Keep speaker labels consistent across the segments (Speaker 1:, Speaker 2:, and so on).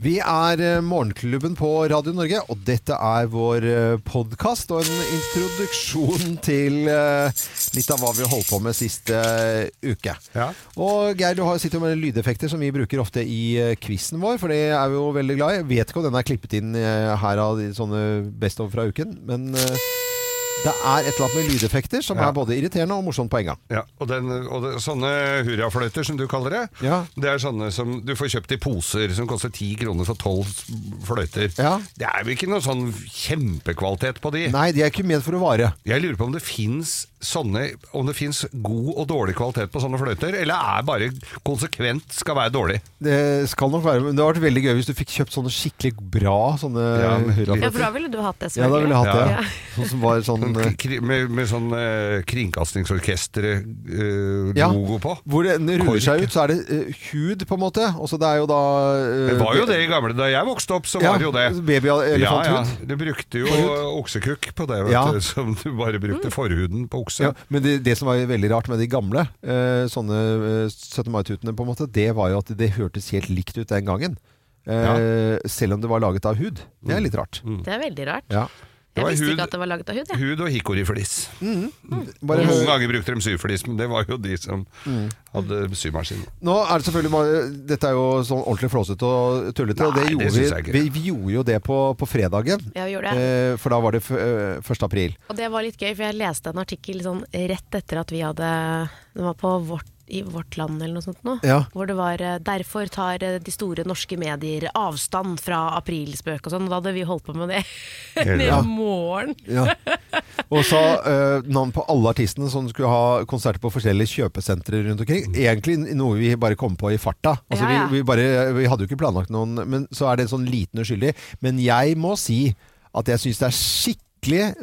Speaker 1: Vi er eh, Morgenklubben på Radio Norge, og dette er vår podkast og en introduksjon til eh, litt av hva vi holdt på med sist eh, uke.
Speaker 2: Ja.
Speaker 1: Og Geir, du har jo sittet med lydeffekter som vi bruker ofte i eh, quizen vår, for det er vi jo veldig glad i. Jeg vet ikke om den er klippet inn eh, her av de sånne best of fra uken, men eh, det er et eller annet med lydeffekter som
Speaker 2: Ja.
Speaker 1: er både irriterende og morsomt på en gang.
Speaker 2: Ja, og, den, og det, sånne hurrafløyter som du kaller det,
Speaker 1: Ja.
Speaker 2: det er sånne som du får kjøpt i poser som koster ti kroner for tolv fløyter.
Speaker 1: Ja.
Speaker 2: Det er jo ikke noe sånn kjempekvalitet på de.
Speaker 1: Nei, de er ikke ment for å vare.
Speaker 2: Jeg lurer på om det fins sånne Om det fins god og dårlig kvalitet på sånne fløyter, eller er bare konsekvent skal være dårlig.
Speaker 1: Det skal nok være, men det hadde vært veldig gøy hvis du fikk kjøpt sånne skikkelig bra sånne
Speaker 2: Ja, men-
Speaker 1: hurrafløyter.
Speaker 3: Ja, for da ville du hatt det,
Speaker 1: Ja, da ville jeg hatt det.
Speaker 2: Ja.
Speaker 1: Ja. Sånn som var sånn eh,
Speaker 2: Kri- Med, med sånn eh, kringkastingsorkestre-logo
Speaker 1: Ja.
Speaker 2: på.
Speaker 1: Hvor den ruller
Speaker 2: Kork.
Speaker 1: seg ut, så er det eh, hud, på en måte. Og så det er jo da eh,
Speaker 2: Det var jo det i gamle Da jeg vokste opp, så
Speaker 1: Ja,
Speaker 2: var det jo det. Ja,
Speaker 1: Babyelefanthud.
Speaker 2: ja. Du brukte jo oksekukk på det, vet
Speaker 1: Ja.
Speaker 2: du, som du bare brukte forhuden på
Speaker 1: Ja,
Speaker 2: okse.
Speaker 1: men det, det som var veldig rart med de gamle eh, sånne eh, 17. mai-tutene, på en måte, det var jo at det hørtes helt likt ut den gangen. Eh, Selv om det var laget av hud. Det er litt rart.
Speaker 2: Mm.
Speaker 3: Det er veldig rart.
Speaker 1: Ja.
Speaker 2: Det
Speaker 3: Jeg
Speaker 2: var
Speaker 3: visste
Speaker 2: hud-
Speaker 3: ikke at det var laget av hud. Jeg.
Speaker 2: Hud og hikoriflis.
Speaker 1: Mm. Bare, Mm.
Speaker 2: Noen ganger brukte de syflis, men det var jo de som hadde symaskin.
Speaker 1: Nå er det selvfølgelig bare, Dette er jo sånn ordentlig flåsete og tullete, og det
Speaker 2: Nei, det
Speaker 1: gjorde
Speaker 2: synes jeg
Speaker 1: vi,
Speaker 2: ikke.
Speaker 1: vi, vi gjorde jo det på, på fredagen.
Speaker 3: Ja, vi gjorde det.
Speaker 1: Eh, for da var det f eh, 1. april.
Speaker 3: Og det var litt gøy, for jeg leste en artikkel sånn rett etter at vi hadde Den var på vårt, i Vårt Land eller noe sånt nå.
Speaker 1: Ja.
Speaker 3: Hvor det var eh, 'Derfor tar eh, de store norske medier avstand fra aprilspøk' og sånn. Og da hadde vi holdt på med det hele
Speaker 1: Ja.
Speaker 3: morgen.
Speaker 1: Ja. Og så eh, navn på alle artistene som skulle ha konserter på forskjellige kjøpesentre rundt
Speaker 2: Mm.
Speaker 1: omkring. Egentlig noe vi bare kom på i farta. Altså,
Speaker 3: Ja, ja.
Speaker 1: Vi, vi, bare, vi hadde jo ikke planlagt noen, men så er det en sånn liten uskyldig. Men jeg må si at jeg syns det er skikkelig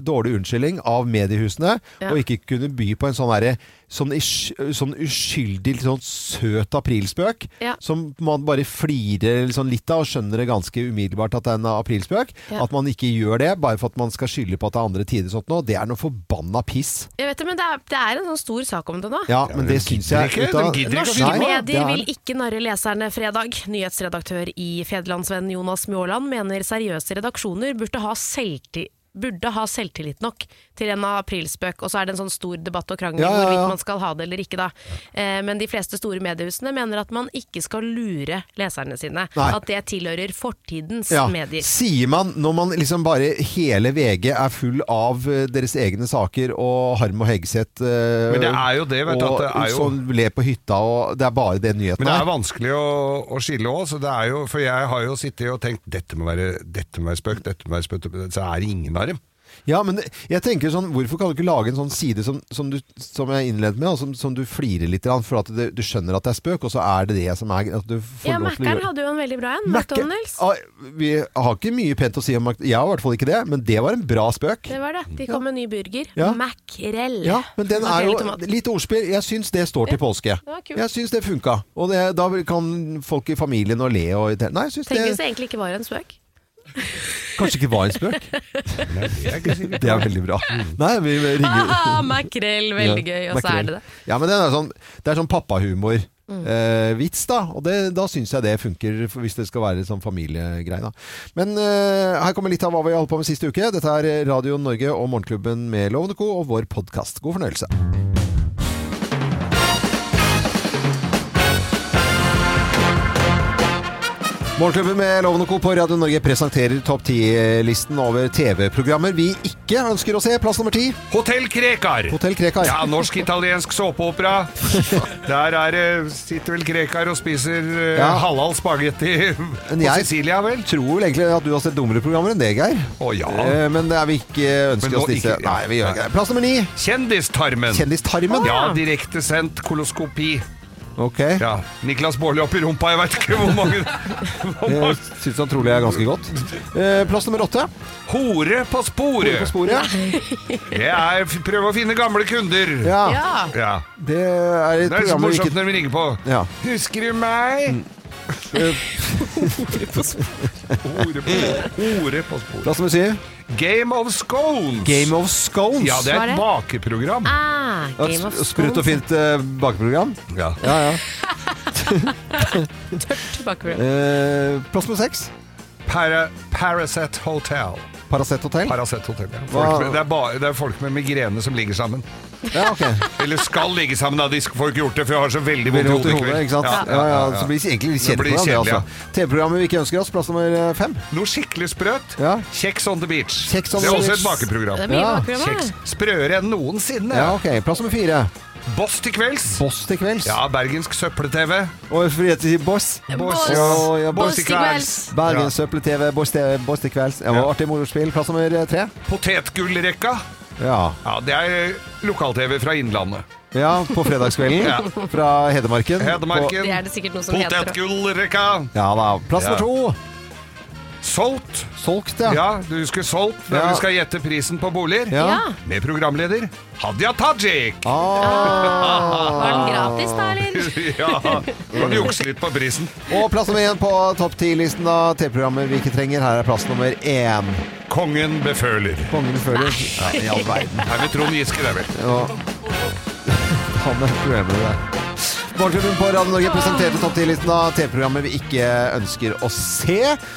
Speaker 1: dårlig unnskyldning av mediehusene
Speaker 3: Ja.
Speaker 1: å ikke kunne by på en sånn derre sånn, ish- sånn uskyldig, litt sånn søt aprilspøk.
Speaker 3: Ja.
Speaker 1: Som man bare flirer sånn litt av og skjønner det ganske umiddelbart at det er en aprilspøk.
Speaker 3: Ja.
Speaker 1: At man ikke gjør det bare for at man skal skylde på at det er andre tider og sånt nå, det er noe forbanna piss.
Speaker 3: Jeg vet det, men det er, det er en sånn stor sak om det nå.
Speaker 1: Ja,
Speaker 2: Ja,
Speaker 1: men
Speaker 2: de
Speaker 1: det syns
Speaker 2: gidder
Speaker 1: jeg
Speaker 2: ikke,
Speaker 1: vet du hva?
Speaker 2: de gidder ikke å
Speaker 3: Norske
Speaker 2: finne på
Speaker 1: Nei, det
Speaker 3: medier
Speaker 1: er-
Speaker 3: vil ikke narre leserne fredag. Nyhetsredaktør i Federlandsvennen Jonas Mjåland mener seriøse redaksjoner burde ha selvtillit burde ha selvtillit nok til en aprilspøk, og så er det en sånn stor debatt og krangel
Speaker 1: Ja, ja, ja.
Speaker 3: hvorvidt man skal ha det eller ikke da. Eh, men de fleste store mediehusene mener at man ikke skal lure leserne sine.
Speaker 1: Nei.
Speaker 3: At det tilhører fortidens
Speaker 1: Ja,
Speaker 3: medier.
Speaker 1: Sier man når man liksom bare hele VG er full av eh, deres egne saker og Harm og Hegseth eh,
Speaker 2: Men det er jo det, vet du,
Speaker 1: og
Speaker 2: at det er jo-
Speaker 1: sånn le på hytta og Det er bare det nyheten
Speaker 2: Men det
Speaker 1: er.
Speaker 2: er vanskelig å, å skille òg, for jeg har jo sittet og tenkt dette må være, dette må være spøk, dette må være spøk, så er det ingen av dem.
Speaker 1: Ja, men jeg tenker sånn, hvorfor kan du ikke lage en sånn side som, som, du, som jeg innledet med, og som, som du flirer litt, grann, for at du, du skjønner at det er spøk, og så er det det som er at du får lov til
Speaker 3: Ja,
Speaker 1: å
Speaker 3: Mækkern
Speaker 1: gjøre.
Speaker 3: hadde jo en veldig bra en.
Speaker 1: Mac-
Speaker 3: McDonald's.
Speaker 1: Ah, Vi har ikke mye pent å si om Mac... Jeg har i hvert fall ikke det, men det var en bra spøk.
Speaker 3: Det var det. De kom med en ny burger.
Speaker 1: Ja.
Speaker 3: Makrell.
Speaker 1: Ja, men den er jo
Speaker 3: Makrell i tomat.
Speaker 1: litt ordspill. Jeg syns det står til påske.
Speaker 3: var kult.
Speaker 1: Jeg syns det funka. Og det, da kan folk i familien og le og Nei, jeg syns
Speaker 3: Tenk hvis
Speaker 1: det
Speaker 3: det egentlig ikke var en spøk.
Speaker 1: kanskje ikke var en spøk.
Speaker 2: Jeg er ikke sikker.
Speaker 1: Det er veldig bra. Nei, vi ringer
Speaker 3: Haha, Ah, makrell, veldig
Speaker 1: Ja,
Speaker 3: gøy, og så
Speaker 1: makrell.
Speaker 3: er det Mm. det.
Speaker 1: Ja, men det er sånn, det er sånn pappahumor. eh, vits, da. Og det, da syns jeg det funker, for hvis det skal være sånn familiegreie. da. Men eh, her kommer litt av hva vi holdt på med sist uke. Dette er Radio Norge og Morgenklubben med Lovende Co. og vår podkast. God fornøyelse. Morgenklubben med Loven og Co. på Radio Norge presenterer topp 10-listen over TV-programmer vi ikke ønsker å se. Plass nummer ti,
Speaker 2: Hotell Krekar!
Speaker 1: Hotell Krekar.
Speaker 2: Ja, norsk-italiensk såpeopera. Der er, det- sitter vel Krekar og spiser eh,
Speaker 1: Ja.
Speaker 2: halal spagetti på
Speaker 1: Men jeg-
Speaker 2: Sicilia, vel?
Speaker 1: tror vel egentlig at du har sett dummere programmer enn det, Geir.
Speaker 2: Å ja.
Speaker 1: Eh, Men det er vi ikke
Speaker 2: Men
Speaker 1: ønsker
Speaker 2: nå
Speaker 1: oss disse.
Speaker 2: ikke- ja.
Speaker 1: Nei, vi gjør ikke det. Plass nummer ni.
Speaker 2: Kjendistarmen.
Speaker 1: Kjendistarmen.
Speaker 2: Ja, direktesendt koloskopi.
Speaker 1: Ok.
Speaker 2: Ja. Niklas Baarli opp i rumpa, jeg veit ikke hvor mange hvor
Speaker 1: Det
Speaker 2: mange-
Speaker 1: syns Eh, han trolig er ganske godt. Eh, Plass nummer åtte. Hore
Speaker 2: Hore på
Speaker 1: på
Speaker 2: sporet.
Speaker 1: sporet.
Speaker 2: Det er f- prøve å finne gamle kunder.
Speaker 1: Ja.
Speaker 3: Ja.
Speaker 2: Ja.
Speaker 1: Det er et
Speaker 2: Det er
Speaker 1: program
Speaker 2: så
Speaker 1: vi
Speaker 2: morsomt
Speaker 1: ikke Mm.
Speaker 2: når vi ringer på.
Speaker 1: Ja.
Speaker 2: Husker du meg?
Speaker 1: Eh.
Speaker 2: Hore på sporet. Hore på sporet.
Speaker 1: Plass nummer syv.
Speaker 2: Game of Scones.
Speaker 1: Game of Scones.
Speaker 2: Ja, det
Speaker 3: Hva
Speaker 2: er
Speaker 3: er
Speaker 2: et
Speaker 3: det?
Speaker 2: bakeprogram.
Speaker 3: Ah,
Speaker 1: Ja,
Speaker 3: Game of
Speaker 1: Sprøtt og
Speaker 3: Thrones.
Speaker 1: fint eh, bakeprogram.
Speaker 2: Ja.
Speaker 1: Ja, ja.
Speaker 3: Tørt bakbrød.
Speaker 1: Eh, plass nummer seks.
Speaker 2: Para, Paracet Hotel.
Speaker 1: Paracet Hotel.
Speaker 2: Paracet Hotel, ja.
Speaker 1: Hva-
Speaker 2: folk med, det, er bare, det er folk med migrene som ligger sammen.
Speaker 1: Ja, ok.
Speaker 2: Eller skal ligge sammen, da. De får ikke gjort det, for jeg har så veldig vondt i
Speaker 1: Råd
Speaker 2: hodet
Speaker 1: til
Speaker 2: i kveld.
Speaker 1: hodet, ikke sant? Ja, ja, Så blir det egentlig litt kjedelig
Speaker 2: Det blir
Speaker 1: program, det,
Speaker 2: kjedelig, ja.
Speaker 1: altså. TV-programmet vi ikke ønsker oss, plass nummer eh, fem.
Speaker 2: Noe skikkelig sprøt.
Speaker 1: Ja.
Speaker 2: Kjeks on the beach.
Speaker 1: Kjeks on
Speaker 2: det
Speaker 1: the
Speaker 2: er også
Speaker 1: beach.
Speaker 2: et bakeprogram.
Speaker 3: Det er mye
Speaker 1: Ja,
Speaker 3: bakbrød.
Speaker 2: Kjeks.
Speaker 3: da.
Speaker 2: Sprøere enn noensinne.
Speaker 1: Ja, ok. Plass nummer fire.
Speaker 2: Boss til kvelds.
Speaker 1: Boss til kvelds.
Speaker 2: Ja, bergensk søppel-TV.
Speaker 1: Og frihet til boss.
Speaker 3: Boss.
Speaker 1: Ja, ja,
Speaker 2: Boss
Speaker 3: Boss
Speaker 2: til
Speaker 3: til
Speaker 2: kvelds.
Speaker 3: kvelds.
Speaker 1: Bergens Søppel-TV, Boss til Boss til kvelds. Ja,
Speaker 2: Ja.
Speaker 1: Artig morospill. Plass nummer eh, tre.
Speaker 2: Potetgullrekka.
Speaker 1: Ja.
Speaker 2: Ja, det er eh, lokal-TV fra Innlandet.
Speaker 1: ja på fredagskvelden
Speaker 2: Ja.
Speaker 1: fra Hedmarken. På,
Speaker 2: Hedmarken.
Speaker 3: Det er det sikkert noe som heter. da.
Speaker 2: Potetgullrekka.
Speaker 1: ja da. Plass
Speaker 2: Ja.
Speaker 1: nummer to.
Speaker 2: Solgt.
Speaker 1: Solgt, ja.
Speaker 2: Ja, du husker solgt når
Speaker 1: Ja.
Speaker 2: du skal gjette prisen på boliger.
Speaker 1: Ja.
Speaker 3: Ja.
Speaker 2: Med programleder Hadia Tajik.
Speaker 1: Ah,
Speaker 3: Var den gratis, da, eller?
Speaker 2: ja, kan du jukse litt på prisen.
Speaker 1: og plass nummer én på topp ti-listen av TV-programmer vi ikke trenger. Her er plass nummer én.
Speaker 2: Kongen beføler.
Speaker 1: Kongen føler ja, I all verden.
Speaker 2: Er med Trond Giske, det er vel.
Speaker 1: Ja. Han er problemet der. Morgenklubben på Radio Norge presenterte topp 10-listen av TV-programmer vi ikke ønsker å se.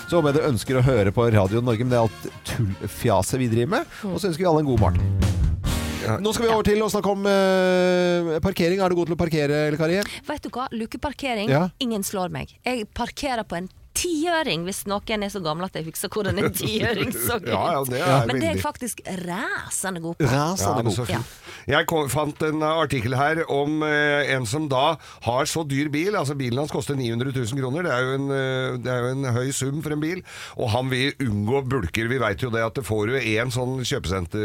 Speaker 1: Så håper jeg du ønsker å høre på Radio Norge, men det er alt tullfjaset vi driver med. Og så ønsker vi alle en god morgen. Nå skal vi over til å snakke om eh, parkering. Er du god til å parkere, eller Kari?
Speaker 4: Vet du hva, lukeparkering,
Speaker 1: Ja.
Speaker 4: ingen slår meg. Jeg parkerer på en tiøring, hvis noen er så gammel at jeg husker hvordan en tiøring så ut.
Speaker 2: Ja, ja, det er
Speaker 4: Men det er
Speaker 2: veldig
Speaker 4: jeg faktisk ræsende god på.
Speaker 1: Ræsa,
Speaker 2: Ja,
Speaker 1: det er
Speaker 2: men så
Speaker 1: god.
Speaker 2: fint. Jeg kom, fant en eh, artikkel her om eh, en som da har så dyr bil. Altså Bilen hans koster 900 000 kroner. Det er jo en, eh, det er jo en høy sum for en bil. Og han vil unngå bulker. Vi veit jo det at det får du én sånn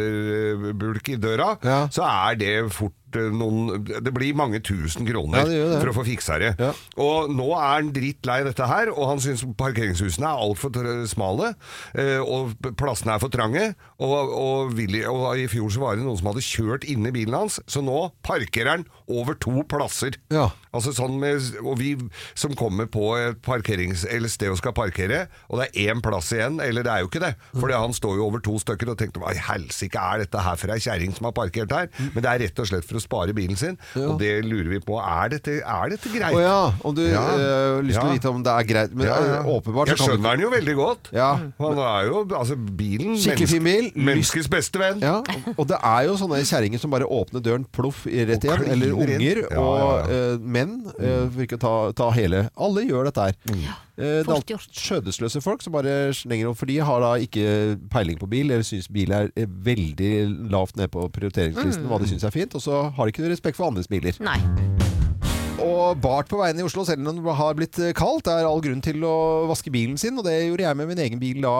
Speaker 2: kjøpesenterbulk i døra,
Speaker 1: Ja.
Speaker 2: så er det fort eh, noen Det blir mange tusen kroner
Speaker 1: Ja, det gjør det.
Speaker 2: for å få fiksa det.
Speaker 1: Ja.
Speaker 2: Og nå er han drittlei dette her, og han syns parkeringshusene er altfor smale, eh, og p- plassene er for trange. Og, og, vil, og i fjor så var det noen som hadde kjørt inni bilen hans, så nå parkerer han over to plasser.
Speaker 1: Ja.
Speaker 2: Altså sånn med, og vi som kommer på et parkerings, eller sted og skal parkere, og det er én plass igjen, eller det er jo ikke det, for han står jo over to stykker og tenkte hva i helsike er dette her for ei kjerring som har parkert her? Men det er rett og slett for å spare bilen sin, og det lurer vi på. Er dette, er dette greit?
Speaker 1: Å ja, om du
Speaker 2: Ja.
Speaker 1: eh, har lyst til
Speaker 2: Ja.
Speaker 1: å vite om det er greit. Men
Speaker 2: Ja, ja.
Speaker 1: eh, åpenbart
Speaker 2: Jeg
Speaker 1: så kan du
Speaker 2: skjønner den jo veldig godt.
Speaker 1: Ja.
Speaker 2: Han er jo altså, bilen
Speaker 1: Skikkelig fin bil.
Speaker 2: Menneskets beste venn.
Speaker 1: Ja, og det er jo sånne kjerringer som bare åpner døren ploff i rett igjen.
Speaker 2: kliner
Speaker 1: Eller
Speaker 2: inn.
Speaker 1: unger
Speaker 2: Ja, Mm.
Speaker 1: og
Speaker 2: ja,
Speaker 1: eh, menn. eh, for ikke å ta, ta hele. Alle gjør dette her.
Speaker 2: Mm.
Speaker 1: Eh, det er
Speaker 4: fort
Speaker 1: alt
Speaker 4: gjort.
Speaker 1: skjødesløse folk som bare slenger opp. For de har da ikke peiling på bil, eller syns bil er eh, veldig lavt nede på prioriteringslisten hva de syns er fint. Og så har de ikke respekt for andres biler.
Speaker 4: Nei.
Speaker 1: Og bart på veiene i Oslo, selv om det har blitt eh, kaldt, er all grunn til å vaske bilen sin. Og det gjorde jeg med min egen bil da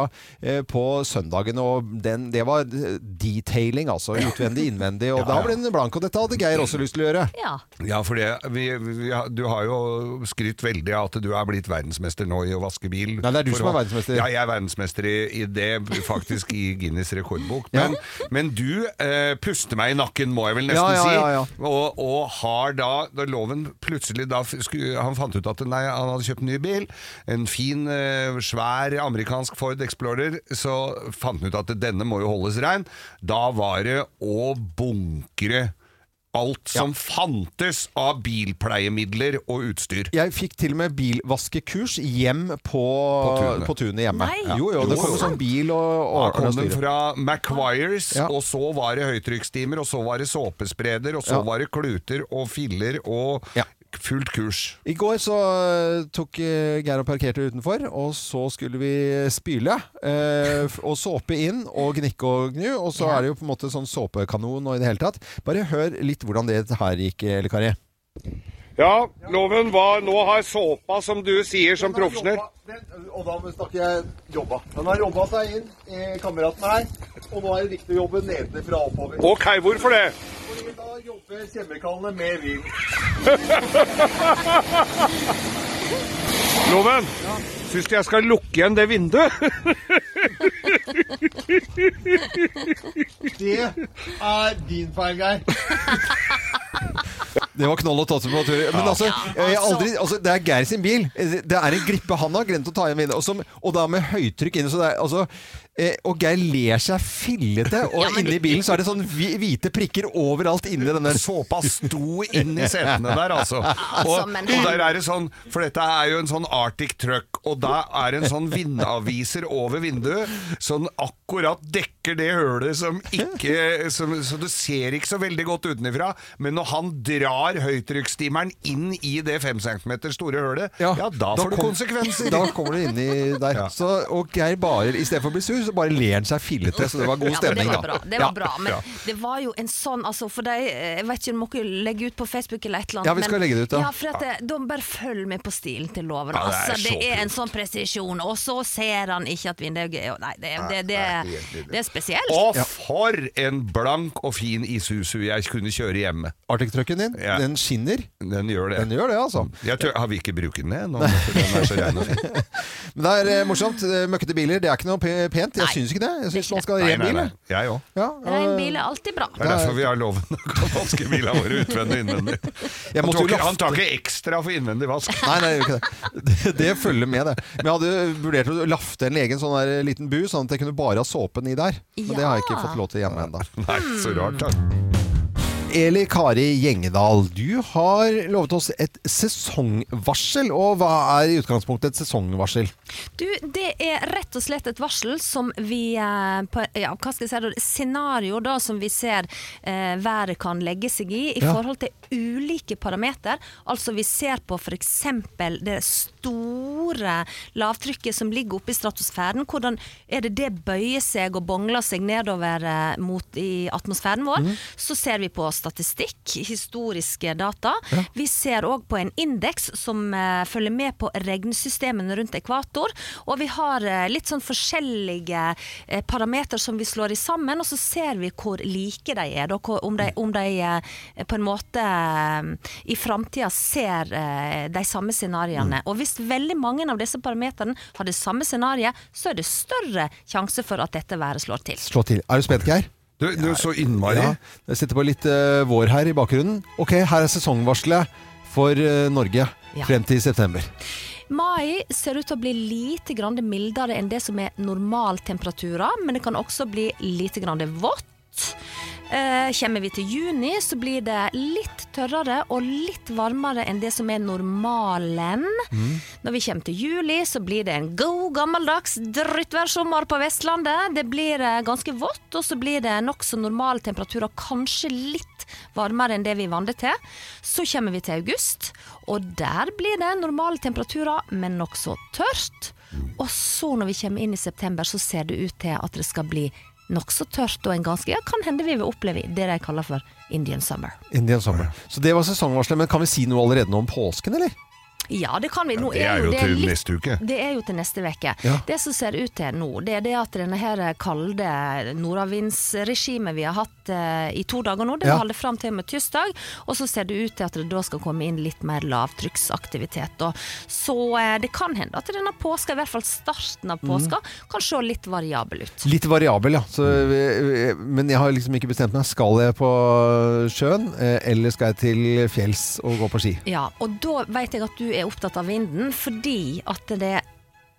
Speaker 1: eh, på søndagen. Og den, det var eh, detailing, altså. Utvendig, innvendig. Og
Speaker 2: Ja,
Speaker 1: da
Speaker 2: ja.
Speaker 1: ble den blank. Og dette hadde Geir også lyst til å gjøre.
Speaker 4: Ja.
Speaker 2: Ja, for det, vi, vi, du har jo skrytt veldig av at du er blitt verdensmester nå i å vaske bil.
Speaker 1: Nei, det er du
Speaker 2: For
Speaker 1: som er
Speaker 2: å-
Speaker 1: verdensmester.
Speaker 2: Ja, jeg er verdensmester i, i det, faktisk i Guinness rekordbok.
Speaker 1: Ja.
Speaker 2: Men, men du eh, puster meg i nakken, må jeg vel
Speaker 1: Ja,
Speaker 2: nesten
Speaker 1: ja, ja, ja.
Speaker 2: si. Og, og har da, da loven plutselig da f- skulle, Han fant ut at nei, han hadde kjøpt en ny bil. En fin, eh, svær amerikansk Ford Explorer. Så fant han ut at denne må jo holdes rein. Da var det å bunkre alt som fantes av bilpleiemidler og utstyr.
Speaker 1: Jeg fikk til og med bilvaskekurs hjem på,
Speaker 2: tunet.
Speaker 1: på tunet hjemme.
Speaker 4: Nei.
Speaker 1: Jo, jo, det
Speaker 2: Jo,
Speaker 1: kom jo
Speaker 2: sant.
Speaker 1: sånn bil og
Speaker 2: Da
Speaker 1: og-
Speaker 2: kom
Speaker 1: og
Speaker 2: den
Speaker 1: styre.
Speaker 2: fra Macquires,
Speaker 1: Ja.
Speaker 2: og så var det høytrykksstimer, og så var det såpespreder, og så
Speaker 1: Ja.
Speaker 2: var det kluter og filler og
Speaker 1: Ja.
Speaker 2: fullt kurs.
Speaker 1: I går så eh, tok eh, Geir og parkerte utenfor, og så skulle vi spyle. eh, f- og såpe inn og gnikke og gnu, og så
Speaker 4: Ja.
Speaker 1: er det jo på en måte sånn såpekanon og i det hele tatt. Bare hør litt hvordan det her gikk, eller Kari.
Speaker 2: Ja, loven var Nå har såpa, som du sier som profesjonell
Speaker 1: øh, Og da snakker jeg jobba. Den har jobba seg inn, kameraten her. Og nå er det riktig å jobbe nedenfra og oppover.
Speaker 2: OK, hvorfor det?
Speaker 1: Fordi da jobber kjemikaliene med vin.
Speaker 2: Loven, syns du jeg skal lukke igjen det vinduet?
Speaker 1: Det er din feil, Geir. Det var knoll og tåte på tur. Men altså, jeg har aldri, altså, det er Geir sin bil. Det er en glippe han har glemt å ta igjen vinduet. Og, som- og da med høytrykk inne, så det er altså Eh, og Geir ler seg fillete, og inni bilen så er det sånn hvi- hvite prikker overalt inni den der
Speaker 2: Såpa sto inn i setene der, altså. Og,
Speaker 4: Altså, men-
Speaker 2: og der er det sånn, for dette er jo en sånn Arctic truck, og da er det en sånn vindaviser over vinduet, sånn akkurat dekker det hølet som ikke som, Så du ser ikke så veldig godt utenifra, men når han drar høytrykksstimeren inn i det fem centimeter store hølet, ja, da får du
Speaker 1: kom-
Speaker 2: konsekvenser.
Speaker 1: Da kommer du inni der.
Speaker 2: Ja.
Speaker 1: Så, og Geir bare, istedenfor å bli sur, så bare ler han seg fillete. Så det var god
Speaker 4: Ja, men
Speaker 1: stemning,
Speaker 4: det var
Speaker 1: da.
Speaker 4: bra. Det var bra men det var jo en sånn altså, For de, jeg vet ikke, du må ikke legge ut på Facebook eller et eller annet.
Speaker 1: Ja, vi skal
Speaker 4: men,
Speaker 1: legge det ut, da.
Speaker 4: Ja, for at det, da bare følg med på stilen til loven.
Speaker 2: Ja, det er
Speaker 4: altså, det
Speaker 2: så
Speaker 4: er en
Speaker 2: klokt.
Speaker 4: sånn presisjon, og så ser han ikke at vinduet er Nei, det,
Speaker 2: Nei,
Speaker 4: det, det,
Speaker 2: det er helt
Speaker 4: det,
Speaker 2: nydelig.
Speaker 4: er spesielt.
Speaker 2: Og for en blank og fin Isuzu jeg kunne kjøre hjemme.
Speaker 1: Arctic-trucken din,
Speaker 2: Ja.
Speaker 1: den skinner.
Speaker 2: Den gjør det.
Speaker 1: Den gjør det, altså.
Speaker 2: Jeg tør, har vi ikke brukt den ennå? for Den er så ren og fin.
Speaker 1: Men det er eh, morsomt. Eh, Møkkete biler, det er ikke noe pe- pent. Jeg
Speaker 4: Nei,
Speaker 1: syns ikke det. Jeg
Speaker 4: det er
Speaker 1: syns
Speaker 4: ikke
Speaker 1: man skal ha
Speaker 2: Nei,
Speaker 1: ren
Speaker 2: nei,
Speaker 1: bil.
Speaker 2: nei. Jeg òg.
Speaker 1: Ja,
Speaker 4: Rein
Speaker 1: og-
Speaker 4: bil er alltid bra.
Speaker 2: Det er derfor vi har loven å kan vaske bilene våre utvendig og innvendig.
Speaker 1: Jeg
Speaker 2: Han
Speaker 1: måtte
Speaker 2: tar,
Speaker 1: jo
Speaker 2: ikke, han
Speaker 1: lafte.
Speaker 2: tar ikke ekstra for innvendig vask.
Speaker 1: Nei, nei, jeg gjør ikke det. det. Det følger med, det. Men jeg hadde vurdert å lafte en egen sånn der liten bu, sånn at jeg kunne bare ha såpen i der. Men det har jeg ikke
Speaker 4: Ja.
Speaker 1: fått lov til hjemme ennå.
Speaker 2: Nei, så rart, da.
Speaker 1: Eli Kari Gjengedal, du har lovet oss et sesongvarsel. Og hva er i utgangspunktet et sesongvarsel?
Speaker 4: Du, det er rett og slett et varsel som vi eh, på, ja, hva skal jeg si, da, scenario da, som vi ser eh, været kan legge seg i i
Speaker 1: Ja.
Speaker 4: forhold til ulike parameter. Altså vi ser på f.eks. det store lavtrykket som ligger oppe i stratosfæren. Hvordan er det det bøyer seg og bongler seg nedover eh, mot i atmosfæren vår? Så ser vi på statistikk, historiske data. Vi ser òg på en indeks som eh, følger med på regnsystemene rundt ekvator. Og vi har eh, litt sånn forskjellige eh, parameter som vi slår i sammen, og så ser vi hvor like de er. Da, hvor, om de, om de eh, på en måte eh, i framtida ser eh, de samme scenarioene. Og hvis veldig mange av disse parameterne har det samme scenarioet, så er det større sjanse for at dette været slår til.
Speaker 1: Slå til. Er du spent, Geir?
Speaker 2: Du, du så innmari.
Speaker 1: Ja. Jeg sitter på litt eh, vår her i bakgrunnen. Ok, her er sesongvarselet for eh, Norge
Speaker 4: Ja.
Speaker 1: frem til september.
Speaker 4: Mai ser ut til å bli lite grann mildere enn det som er normaltemperaturer, men det kan også bli lite grann vått. Eh, Kommer vi til juni, så blir det litt tørrere og litt varmere enn det som er normalen. Når vi kommer til juli, så blir det en god gammeldags dryttværsommer på Vestlandet. Det blir eh, ganske vått, og så blir det nokså normale temperaturer, kanskje litt varmere enn det vi er vant til. Så kommer vi til august, og der blir det normale temperaturer, men nokså tørt. Og så når vi kommer inn i september, så ser det ut til at det skal bli nokså tørt og en ganske Ja, kan hende vi vil oppleve det de kaller for Indian summer.
Speaker 1: Indian sommer. Så det var sesongvarselet. Men kan vi si noe allerede nå om påsken, eller?
Speaker 4: Ja, det kan vi. Nå
Speaker 2: Det er jo
Speaker 4: det
Speaker 2: til
Speaker 4: litt
Speaker 2: neste uke.
Speaker 4: Det er jo til neste uke.
Speaker 1: Ja.
Speaker 4: Det som ser ut til nå, det er det at denne her kalde nordavindsregimet vi har hatt eh, i to dager nå, det
Speaker 1: Ja.
Speaker 4: holder fram til og med tirsdag. Og så ser det ut til at det da skal komme inn litt mer lavtrykksaktivitet. da. Så eh, det kan hende at denne påska, i hvert fall starten av påska,
Speaker 1: Mm.
Speaker 4: kan se litt variabel ut.
Speaker 1: Litt variabel, ja. Så, eh, men jeg har liksom ikke bestemt meg. Skal jeg på sjøen, eh, eller skal jeg til fjells og gå på ski?
Speaker 4: Ja, og da vet jeg at du er opptatt av vinden, fordi at det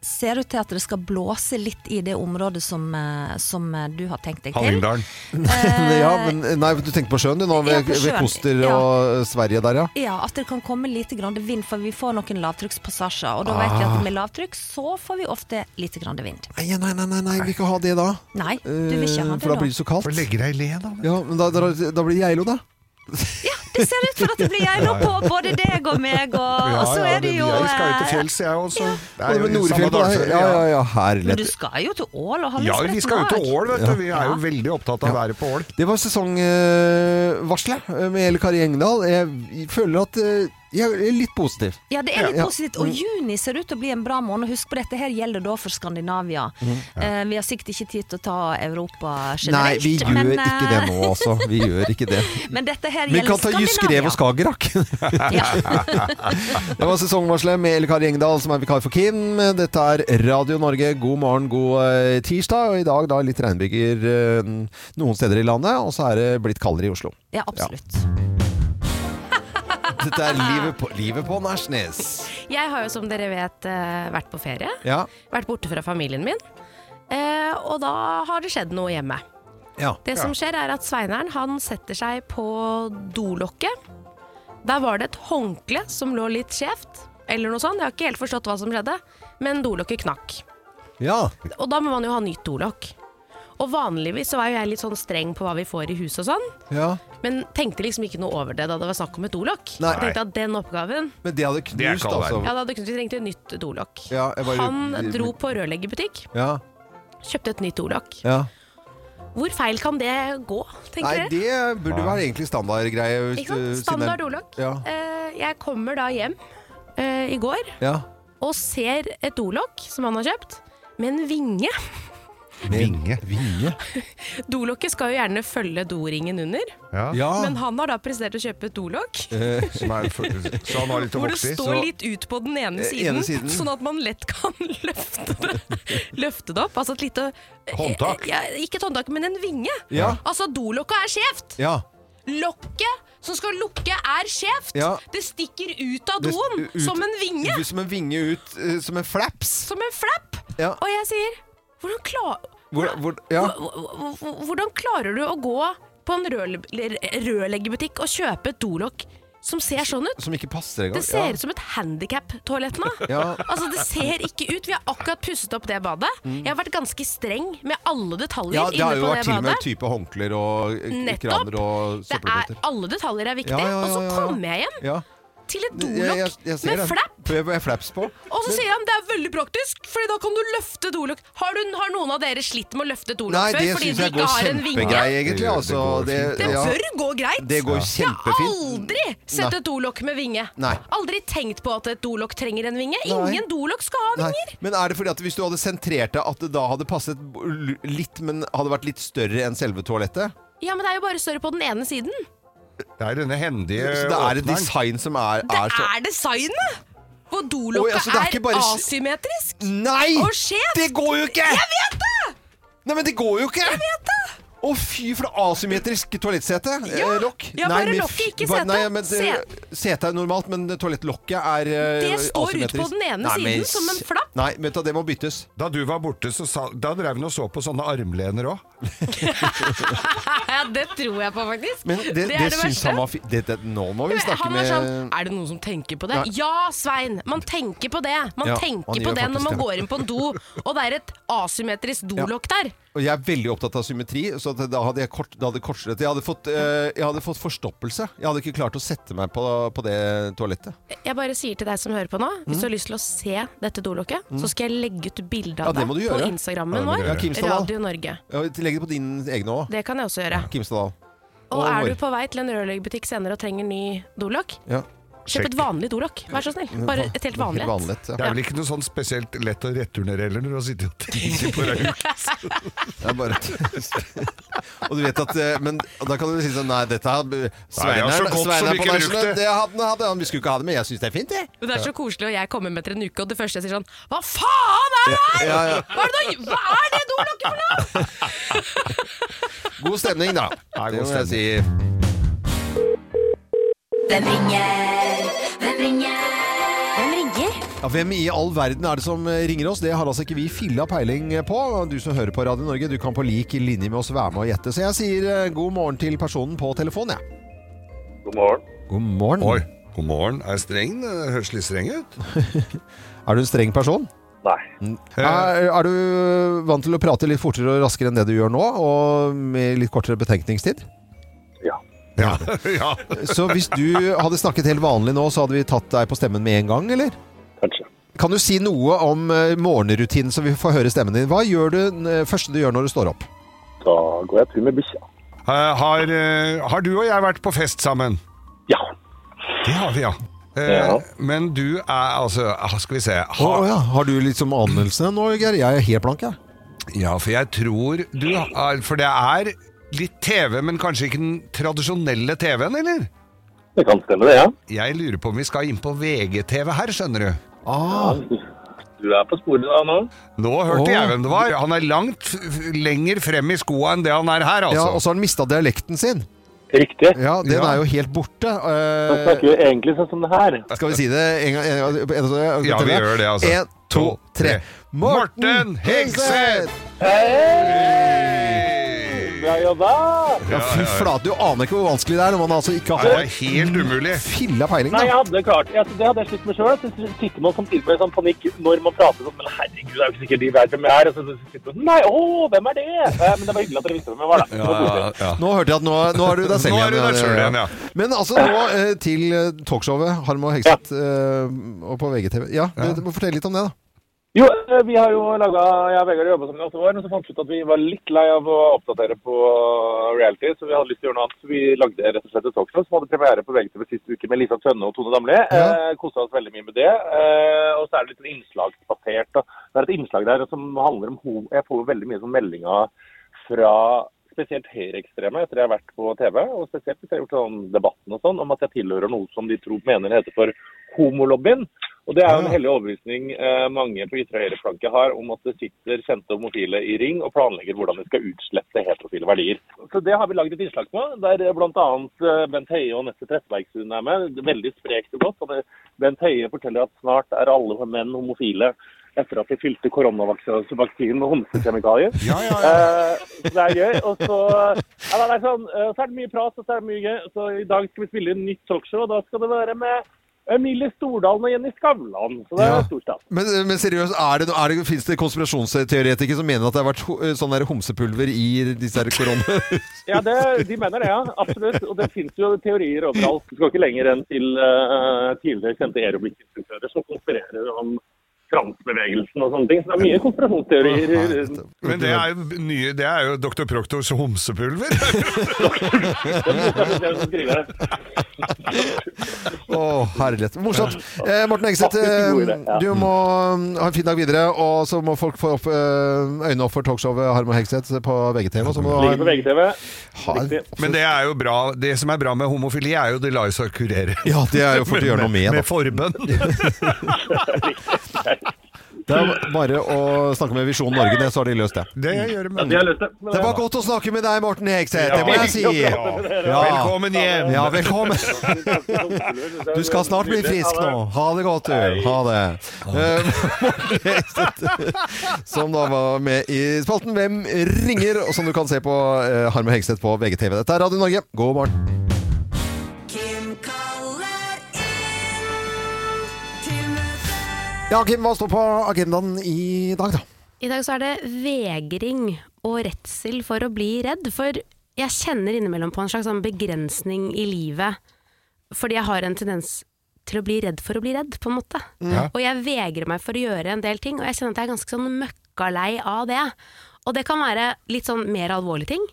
Speaker 4: ser ut til at det skal blåse litt i det området som, eh, som eh, du har tenkt deg til.
Speaker 2: Hallingdalen.
Speaker 1: ja, men nei, du tenker på sjøen du nå,
Speaker 4: Eh, Ja,
Speaker 1: ved,
Speaker 4: på
Speaker 1: ved
Speaker 4: sjøen.
Speaker 1: Koster
Speaker 4: Ja.
Speaker 1: og eh, Sverige der, ja.
Speaker 4: Ja, at det kan komme lite grann vind, for vi får noen lavtrykkspassasjer. Og da vet vi
Speaker 1: Ah.
Speaker 4: at med lavtrykk så får vi ofte lite grann vind.
Speaker 1: Nei, nei, nei, nei, nei, vi kan ha det da.
Speaker 4: Nei, du vil ikke
Speaker 1: Eh,
Speaker 4: ha det
Speaker 1: For da
Speaker 4: da.
Speaker 1: blir det så kaldt.
Speaker 2: Får legge deg i le, da.
Speaker 1: Ja, men da, da, da blir det Geilo, da.
Speaker 4: Ja, det ser ut for at det blir jeg nå på både deg og meg, og, og så er det jo
Speaker 2: Jeg skal jo til
Speaker 4: eh,
Speaker 2: fjells, jeg også. Det
Speaker 1: Og
Speaker 2: er
Speaker 1: det
Speaker 2: jo
Speaker 1: med
Speaker 2: i samme
Speaker 1: Nordfjell på deg.
Speaker 2: dalføre,
Speaker 1: Ja, ja, ja, her
Speaker 4: Men du
Speaker 1: lett.
Speaker 4: skal jo til Ål og
Speaker 2: Ja,
Speaker 4: Hallingsbretten
Speaker 2: vi skal jo til
Speaker 4: også.
Speaker 2: Ål, vet du. Vi er jo
Speaker 4: Ja.
Speaker 2: veldig opptatt av været på Ål.
Speaker 1: Det var sesongvarselet eh, med Eli Kari Engdahl. Jeg føler at eh, jeg er litt positiv.
Speaker 4: Ja, det er
Speaker 1: Ja,
Speaker 4: litt
Speaker 1: Mm. ja.
Speaker 4: positivt. Og juni ser ut til å bli en bra måned. Husk på dette her gjelder da for Skandinavia. Eh, vi har sikkert ikke tid til å ta Europa
Speaker 1: Mm. Nei,
Speaker 4: generelt.
Speaker 1: vi gjør
Speaker 4: men,
Speaker 1: ikke det
Speaker 4: eh,
Speaker 1: nå, altså. Vi gjør ikke det.
Speaker 4: Men dette her
Speaker 1: Vi kan
Speaker 4: gjelder
Speaker 1: ta Jysk Rev og
Speaker 4: Skandinavia.
Speaker 1: Skagerrak.
Speaker 4: Ja.
Speaker 1: Det var sesongvarselet med Eli Kari Engdahl, som er vikar for Kim. Dette er Radio Norge. God morgen, god eh, tirsdag. Og i dag da litt regnbyger eh, noen steder i landet, og så er det blitt kaldere i Oslo.
Speaker 4: ja, absolutt.
Speaker 1: Dette er Livet på, livet på Nærsnes.
Speaker 3: Jeg har jo som dere vet eh, vært på ferie.
Speaker 1: Ja.
Speaker 3: Vært borte fra familien min. Eh, og da har det skjedd noe hjemme.
Speaker 1: Ja.
Speaker 3: Det som skjer er at Sveineren han setter seg på dolokket. Der var det et håndkle som lå litt skjevt, eller noe sånt. Jeg har ikke helt forstått hva som skjedde, men dolokket knakk.
Speaker 1: ja.
Speaker 3: Og da må man jo ha nytt dolokk. Og vanligvis så er jo jeg litt sånn streng på hva vi får i huset og sånn,
Speaker 1: ja.
Speaker 3: men tenkte liksom ikke noe over det da det var snakk om et dolokk.
Speaker 1: Nei.
Speaker 3: Jeg tenkte at den oppgaven
Speaker 1: Men det hadde
Speaker 2: Det er
Speaker 1: knust,
Speaker 2: kald
Speaker 1: altså.
Speaker 3: Ja, da hadde vi trengt et nytt dolokk.
Speaker 1: Ja, jeg bare-
Speaker 3: Han dro på rørleggerbutikk,
Speaker 1: Ja.
Speaker 3: kjøpte et nytt dolokk.
Speaker 1: ja.
Speaker 3: Hvor feil kan det gå, tenker
Speaker 1: Nei,
Speaker 3: dere?
Speaker 1: det burde være egentlig standardgreie. hvis
Speaker 3: Ikke sant?
Speaker 1: du- siden
Speaker 3: Standard
Speaker 1: det-
Speaker 3: dolokk.
Speaker 1: Ja.
Speaker 3: Eh, jeg kommer da hjem eh, i går
Speaker 1: ja.
Speaker 3: og ser et dolokk som han har kjøpt, med en vinge.
Speaker 2: Vinge.
Speaker 1: Vinge?
Speaker 3: Dolokket skal jo gjerne følge doringen under,
Speaker 2: Ja.
Speaker 1: Ja.
Speaker 3: men han har da prestert å kjøpe et dolokk.
Speaker 2: Som er, så han har litt å
Speaker 3: Hvor det
Speaker 2: vokse i.
Speaker 3: står
Speaker 2: så-
Speaker 3: litt ut på den ene
Speaker 1: Eh,
Speaker 3: siden,
Speaker 1: ene siden.
Speaker 3: sånn at man lett kan løfte det, løfte det opp. Altså et lite eh,
Speaker 2: Håndtak.
Speaker 3: Ja, ikke et håndtak, men en vinge.
Speaker 1: Ja.
Speaker 3: Altså, dolokket er skjevt!
Speaker 1: ja.
Speaker 3: Lokket som skal lukke, er skjevt!
Speaker 1: Ja.
Speaker 3: Det stikker ut av
Speaker 1: Det-
Speaker 3: doen
Speaker 1: ut-
Speaker 3: som en vinge!
Speaker 1: Du Som en vinge ut, eh, som en flaps.
Speaker 3: Som en flapp!
Speaker 1: Ja.
Speaker 3: Og jeg sier hvordan, kla-
Speaker 1: Hvor, hvor, ja.
Speaker 3: hvor- hvor- hvordan klarer du å gå på en rørle- rørleggerbutikk og kjøpe et dolokk som ser sånn ut?
Speaker 1: Som ikke passer engang.
Speaker 3: Det ser ut som et handikap-toalett nå.
Speaker 1: Ja.
Speaker 3: Altså, det ser ikke ut. Vi har akkurat pusset opp det badet. Jeg har vært ganske streng med alle
Speaker 1: Mm.
Speaker 3: detaljer
Speaker 1: Ja, det har
Speaker 3: inne
Speaker 1: jo
Speaker 3: på
Speaker 1: vært
Speaker 3: det
Speaker 1: til og med
Speaker 3: badet.
Speaker 1: type håndklær og eh,
Speaker 3: Nettopp.
Speaker 1: kraner og
Speaker 3: Det er,
Speaker 1: søppelbøtter.
Speaker 3: alle detaljer er viktig.
Speaker 1: Ja, ja, ja,
Speaker 3: Og
Speaker 1: ja,
Speaker 3: så
Speaker 1: ja.
Speaker 3: kommer jeg hjem
Speaker 1: Ja.
Speaker 3: til et
Speaker 1: Jeg- jeg- jeg
Speaker 3: dolokk
Speaker 1: ser
Speaker 3: med
Speaker 1: det.
Speaker 3: flapp.
Speaker 1: Med, med flaps på.
Speaker 3: Og så sier han det er veldig praktisk, Fordi da kan du løfte dolokk. Har, du- har noen av dere slitt med å løfte et dolokk
Speaker 1: Nei,
Speaker 3: før
Speaker 1: det
Speaker 3: fordi
Speaker 1: syns
Speaker 3: du
Speaker 1: jeg
Speaker 3: ikke
Speaker 1: går
Speaker 3: har en vinge?
Speaker 1: kjempegreit, egentlig.
Speaker 2: Det- det
Speaker 1: Altså,
Speaker 2: går
Speaker 1: det,
Speaker 2: fint.
Speaker 3: Det
Speaker 1: ja.
Speaker 3: bør gå greit.
Speaker 1: det går
Speaker 3: Jeg har
Speaker 1: kjempefint.
Speaker 3: aldri sett
Speaker 1: Nei.
Speaker 3: et dolokk med vinge.
Speaker 1: Nei.
Speaker 3: Aldri tenkt på at et dolokk trenger en vinge.
Speaker 1: Nei.
Speaker 3: Ingen dolokk skal ha
Speaker 1: Nei.
Speaker 3: vinger.
Speaker 1: Men er det fordi at hvis du hadde sentrert det, at det da hadde passet b- l- litt, men hadde vært litt større enn selve toalettet?
Speaker 3: Ja, men det er jo bare større på den ene siden.
Speaker 2: Det er denne hendige
Speaker 1: Så det er et
Speaker 2: Eh, åpneren.
Speaker 1: design som er,
Speaker 3: Det
Speaker 1: er så
Speaker 3: er designet! Hvor
Speaker 1: Oi,
Speaker 3: dolokket
Speaker 1: altså, det er
Speaker 3: er,
Speaker 1: ikke bare-
Speaker 3: asymmetrisk.
Speaker 1: Nei!
Speaker 3: Og skjevt!
Speaker 1: Det går jo ikke! Jeg vet det! Nei, men det går jo ikke! Jeg vet det! Å fy, for det asymmetrisk toalettsete.
Speaker 3: Ja.
Speaker 1: eh, lokk.
Speaker 3: Ja, bare
Speaker 1: men
Speaker 3: lokket, ikke
Speaker 1: f- bare-
Speaker 3: setet.
Speaker 1: Nei, men det, Setet er normalt, men toalettlokket er eh,
Speaker 3: Det står ut på
Speaker 1: asymmetrisk.
Speaker 3: den ene
Speaker 1: Nei, men
Speaker 3: siden som en
Speaker 1: s-
Speaker 3: flapp.
Speaker 1: Nei, vet du, det må byttes.
Speaker 2: Da du var borte, så sa, da drev hun og så på sånne armlener òg.
Speaker 3: Ja, det tror jeg på, faktisk.
Speaker 1: Men det, det, syns han var fint. Nå må vi snakke
Speaker 3: han var
Speaker 1: med
Speaker 3: sånn Er det noen som tenker på det?
Speaker 1: Nei.
Speaker 3: Ja, Svein! Man tenker på det. Man
Speaker 1: Ja,
Speaker 3: tenker
Speaker 1: man
Speaker 3: på
Speaker 1: gjør
Speaker 3: det når man
Speaker 1: faktisk
Speaker 3: går inn på en do, og det er et asymmetrisk dolokk der.
Speaker 1: Og jeg er veldig opptatt av symmetri, så at da hadde jeg kort, da hadde jeg kortsluttet. Jeg hadde, fått, eh, jeg hadde fått forstoppelse. Jeg hadde ikke klart å sette meg på, på det toalettet.
Speaker 3: Jeg bare sier til deg som hører på nå, hvis du har lyst til å se dette dolokket, så skal jeg legge ut bilde
Speaker 1: Mm. Ja,
Speaker 3: av
Speaker 1: det må du
Speaker 3: deg på
Speaker 1: gjøre.
Speaker 2: Ja,
Speaker 3: Instagrammen
Speaker 2: det må du
Speaker 3: vår,
Speaker 2: gjøre.
Speaker 1: Ja, Kimstad, da.
Speaker 3: Radio Norge.
Speaker 1: Legg det på din egne òg,
Speaker 3: Det kan jeg også gjøre.
Speaker 1: Kimstadal.
Speaker 3: Og
Speaker 1: Og
Speaker 3: er
Speaker 1: vår.
Speaker 3: du på vei til en rørleggerbutikk senere og trenger ny dolokk,
Speaker 1: Ja.
Speaker 3: kjøp et vanlig dolokk. Vær så snill. Bare et helt vanlig.
Speaker 1: Helt vanlig. Ja.
Speaker 2: Det er vel ikke noe sånn spesielt lett å returnere heller, når du har sittet og tenkt på det.
Speaker 1: Det er bare Og du vet at eh, Men da kan du si sånn Nei, dette hadde
Speaker 2: Nei, det er
Speaker 1: Sveineren
Speaker 2: så godt som
Speaker 1: Sveineren
Speaker 2: ikke
Speaker 1: på
Speaker 2: brukte.
Speaker 1: Nationet, det hadde, hadde han. Vi skulle ikke ha det, men jeg syns det er fint, jeg.
Speaker 3: Men Det er så koselig, og jeg kommer med etter en uke, og det første jeg sier sånn Hva faen er det her?!
Speaker 1: Ja, ja.
Speaker 3: Hva er det, da- hva er det dolokket for noe?!
Speaker 1: God stemning, da.
Speaker 2: Ja,
Speaker 1: Det
Speaker 2: god
Speaker 1: må jeg si.
Speaker 5: Hvem ringer? Hvem ringer? Hvem ringer?
Speaker 1: Ja, hvem i all verden er det som ringer oss? Det har altså ikke vi filla peiling på. Du som hører på Radio Norge, du kan på lik linje med oss være med og gjette. Så jeg sier eh, god morgen til personen på telefonen, jeg.
Speaker 6: God morgen.
Speaker 1: God morgen.
Speaker 2: Oi, god morgen. Er streng? Det Høres litt streng ut.
Speaker 1: Er du en streng person?
Speaker 6: Nei.
Speaker 1: Er, er du vant til å prate litt fortere og raskere enn det du gjør nå, og med litt kortere betenkningstid?
Speaker 6: Ja.
Speaker 2: Ja. ja.
Speaker 1: Så hvis du hadde snakket helt vanlig nå, så hadde vi tatt deg på stemmen med en gang, eller?
Speaker 6: Kanskje.
Speaker 1: Kan du si noe om eh, morgenrutinen, så vi får høre stemmen din? Hva gjør du eh, første du gjør når du står opp?
Speaker 6: Da går jeg tur med bikkja.
Speaker 2: Eh, Har, eh, har du og jeg vært på fest sammen?
Speaker 6: Ja.
Speaker 2: Det har vi, ja. Eh,
Speaker 6: Ja.
Speaker 2: Men du er altså ah, Skal vi se.
Speaker 1: Å
Speaker 2: Har,
Speaker 1: ja, har du liksom anelse nå, Geir? Jeg er helt blank, jeg.
Speaker 2: ja, for jeg tror du har For det er litt TV, men kanskje ikke den tradisjonelle TV-en, eller?
Speaker 6: Det kan stemme, det, ja.
Speaker 2: Jeg lurer på om vi skal inn på VGTV her, skjønner du.
Speaker 1: Ah,
Speaker 6: Du er på sporet da nå.
Speaker 2: Nå hørte
Speaker 1: Åh.
Speaker 2: jeg hvem det var. Han er langt f- f- lenger frem i skoa enn det han er her,
Speaker 1: ja,
Speaker 2: altså.
Speaker 1: og så har han mista dialekten sin.
Speaker 6: Riktig.
Speaker 1: Ja, Den
Speaker 2: Ja.
Speaker 1: er jo helt borte.
Speaker 6: Han
Speaker 1: Eh,
Speaker 6: snakker jo egentlig sånn som det her.
Speaker 1: skal vi si det en gang? En, en, en, en,
Speaker 2: altså. Ja, vi gjør det, altså.
Speaker 1: En, to, tre.
Speaker 2: Morten Hegseth!
Speaker 6: Bra jobba!
Speaker 1: Ja, fy flate, du aner ikke hvor vanskelig det er når man altså ikke
Speaker 2: Det er
Speaker 1: har
Speaker 2: helt umulig.
Speaker 1: filla peiling.
Speaker 6: Nei,
Speaker 1: Da.
Speaker 6: jeg hadde klart jeg, Det hadde jeg slitt med sjøl. Så sitter man samtidig med sånn panikk når man prater sånn Men herregud, det er jo ikke sikkert de vet hvem jeg er. Og så sitter man sånn Nei, å, hvem er det? Eh, Men det var hyggelig at dere visste hvem jeg var, da. Det var koselig.
Speaker 1: Nå hørte jeg at nå, nå har du deg selv
Speaker 2: Nå har
Speaker 1: igjen.
Speaker 2: du deg selv igjen, ja.
Speaker 1: Men altså nå eh, til eh, talkshowet Harm og Hegseth eh, og på VGTV. Ja, du, du må fortelle litt om det, da.
Speaker 6: Jo, eh, vi har jo laga Jeg og Vegard jobba sammen i åtte år, men så fant vi ut at vi var litt lei av å oppdatere på reality, så vi hadde lyst til å gjøre noe annet. Så vi lagde rett og slett et talkshow som hadde premiere på VGTV sist uke med Lisa Tønne og Tone Damli.
Speaker 1: Ja.
Speaker 6: Eh, Kosa oss veldig mye med det. Eh, og så er det litt sånn innslagsbasert. da. Det er et innslag der som handler om ho Jeg får jo veldig mye sånn meldinger fra spesielt høyreekstreme etter jeg har vært på TV, og spesielt hvis jeg har gjort sånn debatten og sånn, om at jeg tilhører noe som de tror mener heter for homolobbyen. Og det er jo en hellig overbevisning eh, mange på ytre og høyre flanke har, om at det sitter kjente homofile i ring og planlegger hvordan de skal utslette heterofile verdier. Så det har vi lagd et innslag på, der eh, bl.a. Bent Høie og Nette Trettebergstuen er med. Veldig sprekt og godt. Og det, Bent Høie forteller at snart er alle menn homofile etter at de fylte koronavaksinen med homsekjemikalier.
Speaker 2: Ja, ja, ja.
Speaker 6: Eh, så det er gøy. Og så, ja, det er sånn, eh, så er det mye prat og så er det mye gøy. Så I dag skal vi spille inn nytt talkshow, og da skal det være med Emilie Stordalen og Jenny Skavlan. Så det er
Speaker 1: Ja.
Speaker 6: stor stas.
Speaker 1: Men, eh, men seriøst, er det, er det, finnes det konspirasjonsteoretikere som mener at det har vært ho- sånn der homsepulver i disse her korona...
Speaker 6: Ja, det, de mener det, ja. Absolutt. Og det fins jo teorier overalt. Du skal ikke lenger enn til eh, tidligere kjente aerobic-instruktører som konspirerer om transbevegelsen og sånne ting. Så det er mye konspirasjonsteorier.
Speaker 2: Men det er jo, nye, det er jo Dr. Proktors homsepulver.
Speaker 6: Det er som skriver det.
Speaker 1: Å, herlighet. Morsomt. Eh, Morten Egseth,
Speaker 6: Faktisk god idé,
Speaker 1: eh,
Speaker 6: ja.
Speaker 1: du må mm, ha en fin dag videre. Og så må folk få opp, eh, øynene opp for talkshowet Harm og Hegseth på VGTV. Og så må
Speaker 6: Ligger på VGTV.
Speaker 1: ha
Speaker 6: Riktig.
Speaker 2: Men det er jo bra Det som er bra med homofili, er jo de lar seg kurere.
Speaker 1: Ja, det er jo fort å gjøre noe med.
Speaker 2: Med
Speaker 1: Da.
Speaker 2: forbønn.
Speaker 1: Det er bare å snakke med Visjon Norge, det, så har de løst det.
Speaker 2: Det gjør
Speaker 6: Ja, de har lyst til det. Men
Speaker 1: Det
Speaker 6: det-
Speaker 1: var godt å snakke med deg, Morten Hegseth. Det må jeg si.
Speaker 2: Ja. Velkommen hjem!
Speaker 1: Ja, velkommen. Du skal snart bli frisk nå. Ha det godt, du. Ha det. Eh, Morten Hegseth, som da var med i spalten Hvem ringer? Og som du kan se på eh, Harm og Hegseth på VGTV. Dette er Radio Norge. God morgen.
Speaker 5: Kim kaller inn til møte.
Speaker 1: Ja, Kim, hva står på agendaen i dag, da?
Speaker 3: I dag så er det vegring og redsel for å bli redd, for jeg kjenner innimellom på en slags sånn begrensning i livet, fordi jeg har en tendens til å bli redd for å bli redd, på en måte. Og jeg vegrer meg for å gjøre en del ting, og jeg kjenner at jeg er ganske sånn møkkalei av det. Og det kan være litt sånn mer alvorlige ting,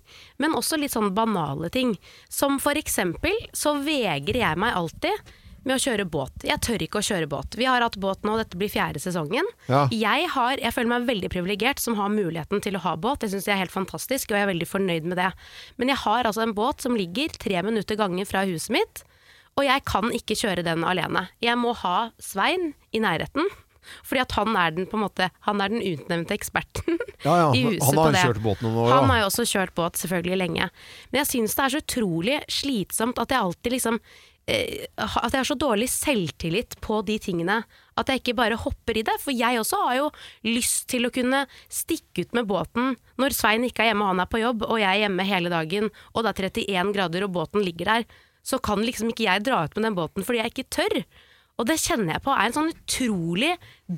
Speaker 3: men også litt sånn banale ting. Som for eksempel så vegrer jeg meg alltid med å kjøre båt. Jeg tør ikke å kjøre båt. Vi har hatt båt nå, dette blir fjerde sesongen.
Speaker 1: Ja.
Speaker 3: Jeg, har, jeg føler meg veldig privilegert som har muligheten til å ha båt. Jeg syns det er helt fantastisk, og jeg er veldig fornøyd med det. Men jeg har altså en båt som ligger tre minutter gangen fra huset mitt, og jeg kan ikke kjøre den alene. Jeg må ha Svein i nærheten. Fordi at han er den på en måte Han er den utnevnte eksperten
Speaker 1: Ja, ja,
Speaker 3: i huset
Speaker 1: han har
Speaker 3: på det.
Speaker 1: kjørt båt noen år,
Speaker 3: Han
Speaker 1: da.
Speaker 3: har jo også kjørt båt selvfølgelig lenge. Men jeg syns det er så utrolig slitsomt at jeg alltid liksom eh, ha- At jeg har så dårlig selvtillit på de tingene. At jeg ikke bare hopper i det. For jeg også har jo lyst til å kunne stikke ut med båten når Svein ikke er hjemme og han er på jobb, og jeg er hjemme hele dagen, og det er 31 grader og båten ligger der. Så kan liksom ikke jeg dra ut med den båten fordi jeg ikke tør. Og det kjenner jeg på er en sånn utrolig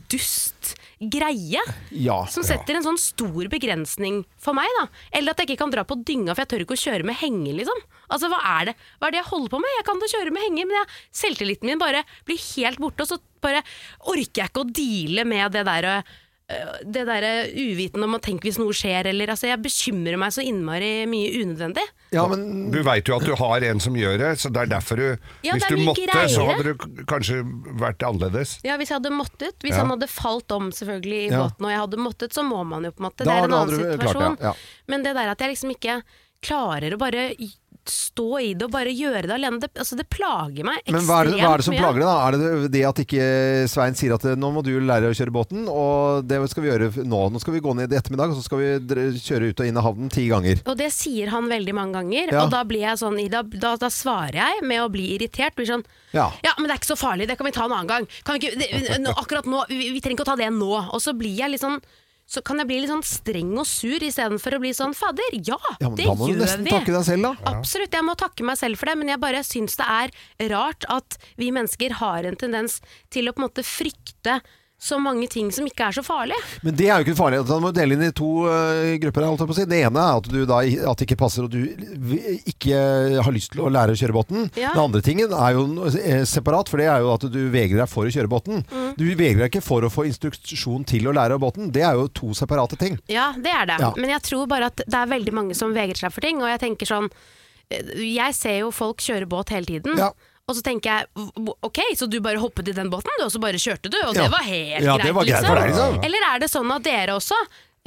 Speaker 3: dust greie.
Speaker 1: Ja.
Speaker 3: Som setter en sånn stor begrensning for meg, da. Eller at jeg ikke kan dra på dynga, for jeg tør ikke å kjøre med henge, liksom. Altså, hva er det Hva er det jeg holder på med? Jeg kan da kjøre med henge, men jeg, selvtilliten min bare blir helt borte, og så bare orker jeg ikke å deale med det derre det derre uvitende om å tenke hvis noe skjer, eller altså Jeg bekymrer meg så innmari mye unødvendig.
Speaker 1: ja, men
Speaker 2: Du veit jo at du har en som gjør det, så det er derfor du
Speaker 3: Ja,
Speaker 2: Hvis
Speaker 3: det er
Speaker 2: du
Speaker 3: mye
Speaker 2: måtte, så
Speaker 3: greiere.
Speaker 2: hadde du k- kanskje vært annerledes.
Speaker 3: Ja, Hvis jeg hadde måttet, hvis
Speaker 2: Ja.
Speaker 3: han hadde falt om selvfølgelig i
Speaker 1: Ja.
Speaker 3: båten og jeg hadde måttet, så må man jo på en
Speaker 1: Da
Speaker 3: måte. det er en
Speaker 1: hadde
Speaker 3: annen
Speaker 1: du klart det,
Speaker 3: situasjon.
Speaker 1: ja.
Speaker 3: Men det der at jeg liksom ikke klarer å bare y- stå i det og bare gjøre det alene, det, altså det plager meg ekstremt
Speaker 1: Men hva er, det, hva er det som
Speaker 3: mye.
Speaker 1: plager deg? da? Er det det- det at ikke Svein sier at eh, nå må du lære å kjøre båten, og det skal vi gjøre f- nå. Nå skal vi gå ned i ettermiddag, og så skal vi dre- kjøre ut og inn av havnen ti ganger.
Speaker 3: Og det sier han veldig mange ganger,
Speaker 1: Ja.
Speaker 3: og da blir jeg sånn i- da, da, da svarer jeg med å bli irritert. Blir sånn
Speaker 1: Ja.
Speaker 3: men det er ikke så farlig, det kan vi ta en annen gang. Kan vi ikke, det, nå- akkurat nå, vi, vi trenger ikke å ta det nå. Og så blir jeg litt sånn så kan jeg bli litt sånn streng og sur istedenfor å bli sånn fader, ja,
Speaker 1: Ja, men
Speaker 3: det
Speaker 1: da må du
Speaker 3: gjør
Speaker 1: nesten
Speaker 3: vi!
Speaker 1: takke deg selv, da.
Speaker 3: Absolutt, jeg må takke meg selv for det, men jeg bare syns det er rart at vi mennesker har en tendens til å på en måte frykte så mange ting som ikke er så farlige.
Speaker 1: Men det er jo ikke farlig. Da må du dele inn i to eh, grupper. Holdt jeg på å si. Det ene er at, du da, at det ikke passer og du v- ikke har lyst til å lære å kjøre båten.
Speaker 3: Ja.
Speaker 1: Den andre tingen er jo n- eh, separat, for det er jo at du vegrer deg for å kjøre båten.
Speaker 3: Mm.
Speaker 1: Du vegrer deg ikke for å få instruksjon til å lære båten. Det er jo to separate ting.
Speaker 3: Ja, det er det.
Speaker 1: Ja.
Speaker 3: Men jeg tror bare at det er veldig mange som vegrer seg for ting. Og jeg tenker sånn eh, Jeg ser jo folk kjøre båt hele tiden.
Speaker 1: Ja.
Speaker 3: Og så tenker jeg "V- ok, så du bare hoppet i den båten, du, og så bare kjørte du, og
Speaker 1: Ja.
Speaker 3: det var helt
Speaker 1: Ja,
Speaker 3: greit,
Speaker 1: det var greit for deg, liksom.
Speaker 3: Eller er det sånn at dere også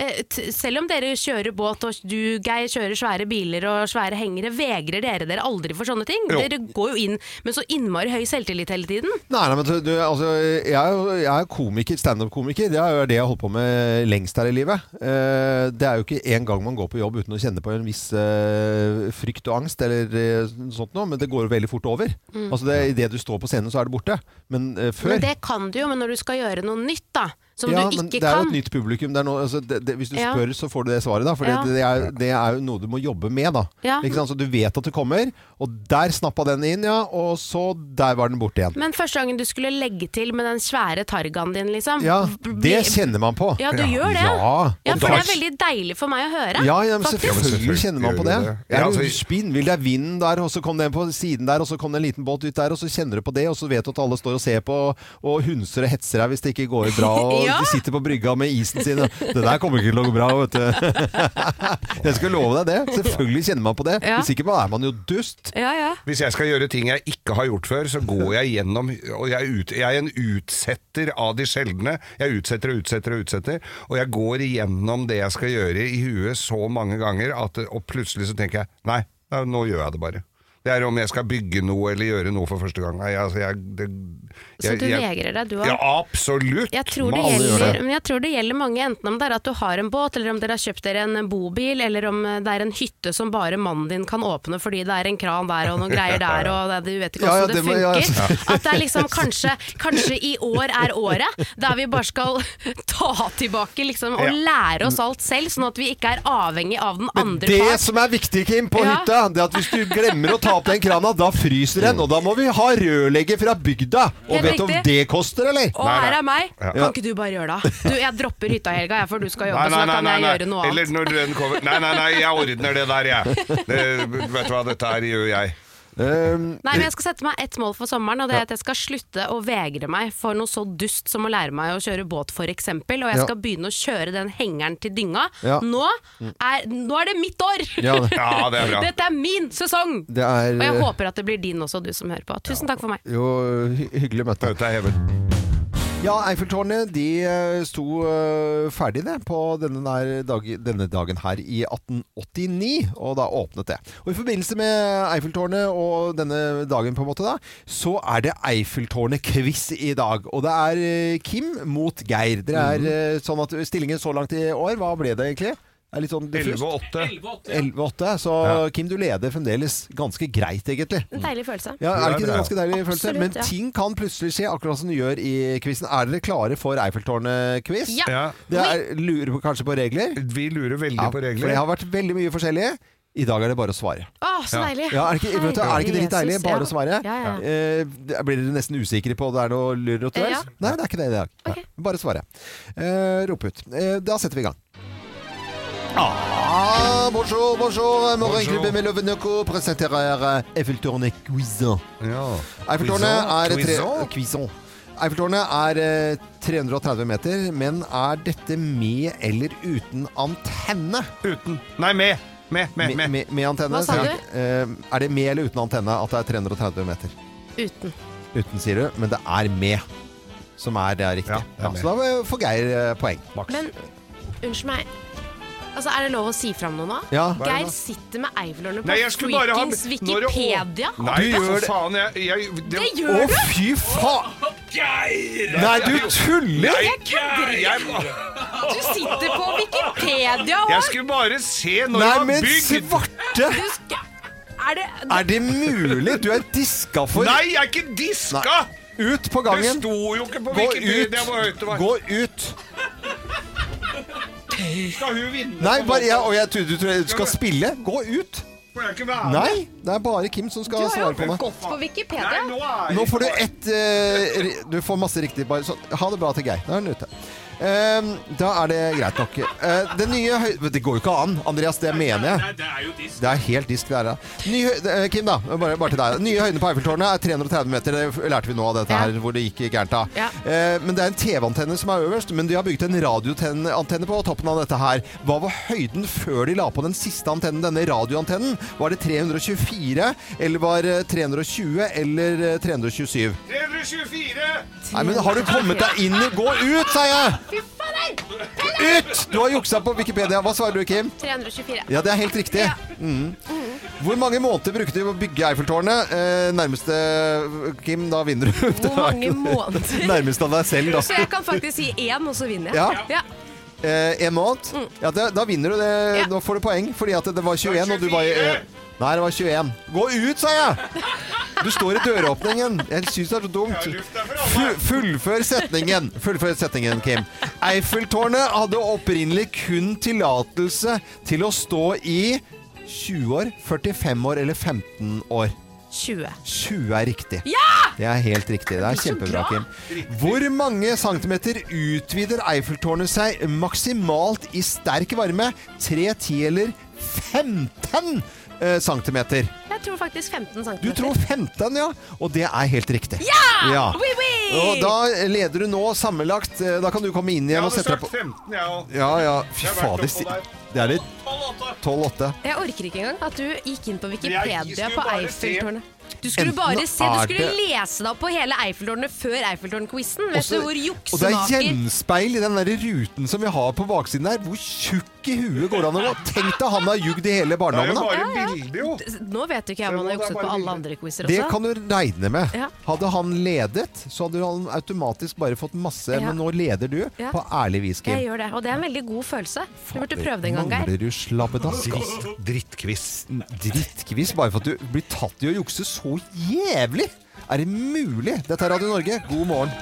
Speaker 3: eh, t- selv om dere kjører båt og du Geir, kjører svære biler og svære hengere, vegrer dere dere aldri for sånne ting?
Speaker 2: Jo.
Speaker 3: Dere går jo inn med så innmari høy selvtillit hele tiden.
Speaker 1: Nei, nei, men du, du, altså, jeg er jo jeg er komiker, standup-komiker. Det er jo det jeg har holdt på med lengst her i livet. Eh, det er jo ikke en gang man går på jobb uten å kjenne på en viss eh, frykt og angst, eller eh, sånt noe, men det går jo veldig fort over. Altså, det, Idet du står på scenen, så er det borte. Men eh, før
Speaker 3: Mm. Men det kan du jo, men når du skal gjøre noe nytt, da, som
Speaker 1: ja,
Speaker 3: du
Speaker 1: men
Speaker 3: ikke
Speaker 1: det er jo
Speaker 3: kan
Speaker 1: et nytt publikum. Det er noe, altså, det, det, hvis du
Speaker 3: Ja.
Speaker 1: spør, så får du det svaret, da. For
Speaker 3: Ja.
Speaker 1: det, det, er, det er jo noe du må jobbe med, da.
Speaker 3: Ja.
Speaker 1: Ikke sant? Så du vet at det kommer, og der snappa den inn, ja. Og så der var den borte igjen.
Speaker 3: Men første gangen du skulle legge til med den svære targaen din, liksom.
Speaker 1: Ja,
Speaker 3: bli-
Speaker 1: det kjenner man på.
Speaker 3: Ja, du gjør det.
Speaker 1: Ja.
Speaker 3: Ja,
Speaker 1: Og
Speaker 3: for det er
Speaker 1: da-
Speaker 3: veldig deilig for meg å høre.
Speaker 1: Ja, ja, men
Speaker 3: faktisk.
Speaker 1: selvfølgelig,
Speaker 2: selvfølgelig
Speaker 1: kjenner man på
Speaker 2: gjør
Speaker 1: det.
Speaker 2: du det.
Speaker 1: det er
Speaker 2: Ja,
Speaker 1: jo
Speaker 2: altså-
Speaker 1: spinnvill, det er vinden der, og så kom den på siden der, og så kom det en liten båt ut der, og så kjenner du på det, og så vet du at alle står og ser på, og hunser og hetser deg hvis det ikke går bra, og
Speaker 3: Ja.
Speaker 1: de sitter på brygga med isen sin, og det der kommer ikke til å gå bra, vet du. Jeg skal love deg det. Selvfølgelig kjenner man på det.
Speaker 3: Ja.
Speaker 1: Hvis ikke er man jo dust.
Speaker 3: Ja, ja.
Speaker 2: Hvis jeg skal gjøre ting jeg ikke har gjort før, så går jeg gjennom og jeg, er ut, jeg er en utsetter av de sjeldne. Jeg utsetter og utsetter og utsetter. Og jeg går igjennom det jeg skal gjøre i huet så mange ganger, at, og plutselig så tenker jeg nei, nei, nå gjør jeg det bare. Det er om jeg skal bygge noe eller gjøre noe for første gang. Nei, altså, jeg, det,
Speaker 3: Så du vegrer deg, du
Speaker 2: Ja,
Speaker 3: òg.
Speaker 2: absolutt.
Speaker 3: Jeg tror, det
Speaker 2: Må alle gjøre
Speaker 3: gjelder, men jeg tror det gjelder mange, enten om det er at du har en båt, eller om dere har kjøpt dere en eh, bobil, eller om eh, det er en hytte som bare mannen din kan åpne fordi det er en kran der og noen greier der, og det, du vet ikke
Speaker 1: Ja, ja,
Speaker 3: hvordan det
Speaker 1: det må- ja, ja.
Speaker 3: funker. At det er liksom kanskje, kanskje i år er året der vi bare skal ta tilbake liksom, og
Speaker 2: Ja.
Speaker 3: lære oss alt selv, sånn at vi ikke er avhengig av den
Speaker 1: Men
Speaker 3: andre
Speaker 1: det
Speaker 3: part.
Speaker 1: som er viktig, Kim, på
Speaker 3: Ja.
Speaker 1: hytta, det er at hvis du glemmer å ta opp den krana, da fryser den, og da må vi ha rørlegger fra bygda. Og
Speaker 3: Helt
Speaker 1: vet du om
Speaker 3: riktig.
Speaker 1: det koster, eller?
Speaker 3: Og
Speaker 2: Nei, nei.
Speaker 3: her er meg.
Speaker 2: Ja.
Speaker 3: Kan ikke du bare gjøre det? Du, jeg dropper hytta i helga, jeg, for du skal jobbe, så da kan jeg gjøre noe
Speaker 2: Eller
Speaker 3: annet.
Speaker 2: når den kommer Nei, nei, nei, jeg ordner det der, jeg. Det, vet du hva, dette her gjør jeg.
Speaker 1: Um,
Speaker 3: Nei, men Jeg skal sette meg ett mål for sommeren, og det er at jeg skal slutte å vegre meg for noe så dust som å lære meg å kjøre båt, f.eks. Og jeg
Speaker 1: Ja.
Speaker 3: skal begynne å kjøre den hengeren til dynga.
Speaker 1: Ja.
Speaker 3: Nå, er, nå er det mitt år!
Speaker 1: ja, det-
Speaker 2: Ja, det er bra.
Speaker 3: Dette er min sesong!
Speaker 1: det er
Speaker 3: Og jeg
Speaker 1: eh,
Speaker 3: håper at det blir din også, du som hører på. Tusen takk for meg.
Speaker 1: Jo, hy- hyggelig møte.
Speaker 2: Dette er hevet.
Speaker 1: Ja, Eiffeltårnet de eh, sto eh, ferdig det på denne, der dag, denne dagen her i 1889, og da åpnet det. Og i forbindelse med Eiffeltårnet og denne dagen på en måte da, så er det Eiffeltårnet-quiz i dag. Og det er eh, Kim mot Geir. Dere er eh, sånn at stillingen så langt i år, hva ble det egentlig? Det er litt sånn diffust.
Speaker 2: 11 og 8.
Speaker 1: 11-8. Så
Speaker 2: Ja.
Speaker 1: Kim, du leder fremdeles ganske greit egentlig.
Speaker 3: En deilig følelse.
Speaker 1: Ja, er det ikke
Speaker 2: Det er
Speaker 1: det
Speaker 2: bra.
Speaker 1: ganske deilig følelse?
Speaker 3: Absolutt,
Speaker 1: Men
Speaker 3: ja.
Speaker 1: ting kan plutselig skje, akkurat som du gjør i quizen. Er dere klare for Eiffeltårnet-quiz?
Speaker 3: Ja.
Speaker 2: Ja.
Speaker 1: Det er, lurer på, kanskje på regler?
Speaker 2: Vi lurer veldig på
Speaker 1: For
Speaker 2: regler.
Speaker 1: det har vært veldig mye forskjellige. I dag er det bare å svare.
Speaker 3: Å, så
Speaker 2: Ja.
Speaker 3: deilig.
Speaker 1: Ja, er det ikke, vet du, er det ikke
Speaker 3: Herre
Speaker 1: dritdeilig?
Speaker 3: Jesus,
Speaker 1: Bare
Speaker 3: ja.
Speaker 1: å svare?
Speaker 3: Ja, ja, ja.
Speaker 1: Eh, det- blir dere nesten usikre på om det er noe lurer og tøys?
Speaker 3: Ja.
Speaker 1: Nei, det er ikke det i dag.
Speaker 3: Ok.
Speaker 1: Bare svare. Eh, rop ut. Eh, da setter vi i gang. Ah, bonjour, bonjour. Morgenklubben med Loven Co. presenterer eh, Eiffeltårnet-quizen.
Speaker 2: Ja.
Speaker 1: Eiffeltårnet er, tre,
Speaker 2: Quizon?
Speaker 1: Quizon. Eiffeltårnet er eh, 330 meter, men er dette med eller uten antenne?
Speaker 2: Uten. Nei, med. Med, med,
Speaker 1: Med,
Speaker 2: med.
Speaker 1: med, med antenne.
Speaker 3: Hva sa
Speaker 1: så-
Speaker 3: du?
Speaker 1: Eh, er det med eller uten antenne at det er 330 meter?
Speaker 3: Uten.
Speaker 1: Uten, sier du, men det er med. Som er det er riktig. Ja,
Speaker 2: Ja, det er
Speaker 1: så
Speaker 2: med.
Speaker 1: da eh, får Geir eh, poeng.
Speaker 3: Men unnskyld meg. Altså, Er det lov å si fram noe nå?
Speaker 1: Ja.
Speaker 2: er det
Speaker 3: Geir
Speaker 2: nå?
Speaker 3: sitter med Eiffelårene på
Speaker 2: Nei, jeg skulle bare ha
Speaker 3: freakings
Speaker 2: Når det å-
Speaker 3: Wikipedia.
Speaker 2: Nei,
Speaker 1: Du gjør
Speaker 2: for
Speaker 1: det.
Speaker 2: faen. Jeg, jeg,
Speaker 3: Det
Speaker 1: Å,
Speaker 3: gjør du!
Speaker 1: fy faen!
Speaker 2: Geir!
Speaker 1: Nei, du tuller!
Speaker 2: Jeg kødder ikke!
Speaker 3: Du sitter på Wikipedia
Speaker 2: Jeg
Speaker 3: og
Speaker 2: skulle bare se når
Speaker 1: Nei,
Speaker 2: det var
Speaker 1: men
Speaker 2: bygd!
Speaker 1: svarte!
Speaker 3: du skal- Er det
Speaker 1: Er det mulig? Du er diska for
Speaker 2: Nei, jeg er ikke diska!
Speaker 1: Ut på
Speaker 2: Det
Speaker 1: gangen!
Speaker 2: sto jo ikke på
Speaker 1: Gå
Speaker 2: Wikipedia hvor høyt
Speaker 1: ut!
Speaker 2: det var.
Speaker 1: Gå ut!
Speaker 2: Skal hun vinne?
Speaker 1: Nei, bare, ja, og jeg trodde du trodde du skal spille. Gå ut!
Speaker 2: Får jeg ikke være
Speaker 1: Nei, det er bare Kim som skal svare på meg.
Speaker 7: Gått på Wikipedia.
Speaker 2: nå er
Speaker 1: Nå får du ett eh, ri- Du får masse riktig. Bare, sånn. ha det bra til Geir. Da er han ute. Ehm, da er det greit nok. Eh, det nye høy... Det går jo ikke an, Andreas. Det mener jeg.
Speaker 8: Det er jo disk.
Speaker 1: Det er helt disk det her, da. Ny høy- eh, Kim, da. Bare, bare til deg. Nye høyden på Eiffeltårnet er 330 meter. Det lærte vi nå av dette her, hvor det gikk gærent av.
Speaker 3: Ja.
Speaker 1: Eh, men det er en TV-antenne som er øverst. Men de har bygget en radioantenne på toppen av dette her. Hva var høyden før de la på den siste antennen, denne radioantennen? Var det 324, eller var det 320, eller eh, 327?
Speaker 2: 324!
Speaker 1: Nei, men har du kommet deg inn i Gå ut, sier jeg! Ut! Du har juksa på Wikipedia. Hva svarer du, Kim?
Speaker 3: 324.
Speaker 1: Ja, det er helt riktig. Mm. Hvor mange måneder brukte de på å bygge Eiffeltårnet? Eh, nærmeste Kim, da vinner du.
Speaker 3: Hvor mange måneder?
Speaker 1: Nærmest av deg selv,
Speaker 3: Så
Speaker 1: da.
Speaker 3: jeg kan faktisk si én, og så vinner jeg.
Speaker 1: Ja.
Speaker 3: Ja.
Speaker 1: Eh, en måned. Ja, da, da vinner du det.
Speaker 3: Ja.
Speaker 1: Nå får du poeng, fordi at det var 21, og du var i eh, Nei, det var 21. Gå ut, sa jeg! Du står i døråpningen. Jeg syns det er så dumt. Fu- Fullfør setningen. Fullfør setningen, Kim. Eiffeltårnet hadde opprinnelig kun tillatelse til å stå i 20 år, 45 år eller 15 år.
Speaker 3: 20.
Speaker 1: 20 er riktig. Det er helt riktig. Det er kjempebra, Kim. Hvor mange centimeter utvider Eiffeltårnet seg maksimalt i sterk varme? 3, 10 eller 15 eh, centimeter?
Speaker 3: Jeg tror faktisk 15 cm.
Speaker 1: Du tror 15, ja. Og det er helt riktig. Ja!
Speaker 3: Oui, oui!
Speaker 1: Og da leder du nå sammenlagt. eh, Da kan du komme inn
Speaker 2: Jeg
Speaker 1: igjen og
Speaker 2: hadde
Speaker 1: sette deg
Speaker 2: sagt
Speaker 1: på
Speaker 2: 15, jeg òg.
Speaker 1: Ja, ja. Fy
Speaker 2: Jeg har vært
Speaker 1: fader.
Speaker 2: oppå der.
Speaker 1: Det er litt
Speaker 2: Halv åtte.
Speaker 1: 12-8.
Speaker 3: Jeg orker ikke engang at du gikk inn på
Speaker 2: Jeg
Speaker 3: Wikipedia
Speaker 2: skulle
Speaker 3: på
Speaker 2: bare se.
Speaker 3: Eiffeltårnet. Du skulle
Speaker 1: Enten
Speaker 3: bare se, du
Speaker 1: er
Speaker 3: skulle
Speaker 1: det-
Speaker 3: lese deg opp på hele Eiffeltårnet før Eiffeltårn-quizen. Vet
Speaker 1: Også-
Speaker 3: du hvor
Speaker 1: Og det er
Speaker 3: juksemaker
Speaker 1: gjenspeil i den der ruten som vi har på baksiden der. Hvor tjukk i huet går det an å gå? Tenk deg han har jugd i hele
Speaker 2: Det er
Speaker 1: barndommen.
Speaker 2: jo
Speaker 1: da.
Speaker 2: bare bilder, jo.
Speaker 3: Nå vet jo ikke jeg om han
Speaker 2: Det må
Speaker 3: har
Speaker 2: da
Speaker 3: jukset på
Speaker 2: bare
Speaker 3: alle
Speaker 2: ligge.
Speaker 3: andre quizer
Speaker 1: Det
Speaker 3: også.
Speaker 1: kan du regne med.
Speaker 3: Ja.
Speaker 1: Hadde han ledet, så hadde han automatisk bare fått masse.
Speaker 3: Ja.
Speaker 1: Men nå leder du
Speaker 3: Ja.
Speaker 1: på ærlig vis,
Speaker 3: Jeg
Speaker 1: Kim.
Speaker 3: gjør det, og det er en veldig god følelse. Du burde prøve det en gang, Geir.
Speaker 1: Mangler du slabbedask?
Speaker 2: Drittquiz.
Speaker 1: Drittquiz bare for at du blir tatt i å jukse så jævlig! Er det mulig? Dette er Radio Norge, god morgen.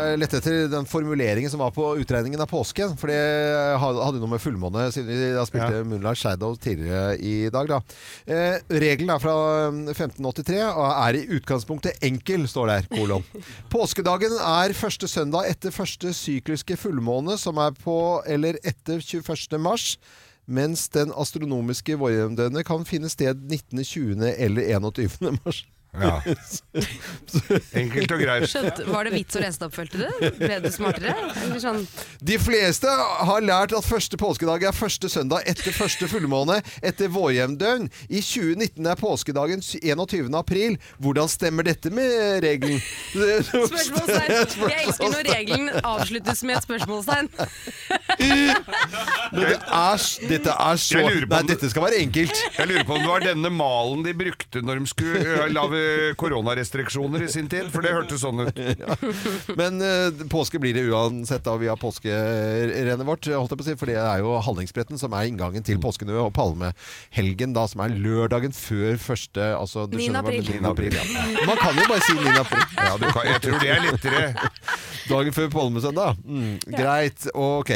Speaker 1: Jeg lette etter den formuleringen som var på utregningen av påske. For det hadde hadde jo noe med fullmåne siden vi da spilte Moonlight Shadow tidligere i dag. Da. Eh, regelen er fra eh, 1583 og er i utgangspunktet enkel, står der. Kolon. Påskedagen er første søndag etter første sykliske fullmåne, som er på eller etter 21. mars. Mens den astronomiske vårjevndøgnet kan finne sted 19., 20. eller 21. mars.
Speaker 2: Ja. Enkelt og greit.
Speaker 3: Skjønt, var det vits å lese det opp, følte du? Ble du smartere? Eller sånn
Speaker 1: De fleste har lært at første påskedag er første søndag etter første fullmåne etter vårjevndøgn. I 2019 er påskedagen 21. april. Hvordan stemmer dette med regelen?
Speaker 3: spørsmålstegn? Jeg elsker når regelen avsluttes med et spørsmålstegn.
Speaker 1: Dette er, s- dette er så
Speaker 2: Jeg lurer på
Speaker 1: Nei,
Speaker 2: om det-
Speaker 1: dette skal være enkelt.
Speaker 2: Jeg lurer på om det var denne malen de brukte når de skulle eh, lage koronarestriksjoner i sin tid, for det hørtes sånn ut.
Speaker 1: Men eh, påske blir det uansett da via påskerennet vårt, eh, holdt jeg på å si, for det er jo Hallingsbretten som er inngangen
Speaker 2: Mm.
Speaker 1: til påskenø og palmehelgen, da, som er lørdagen før første altså, du
Speaker 3: 9.
Speaker 1: skjønner hva jeg
Speaker 3: april.
Speaker 1: mener. 9. april ja. Man kan jo bare si 9. april.
Speaker 2: Ja, du kan, jeg tror det er lettere.
Speaker 1: Dagen før palmesøndag? Mm, Greit. Ok.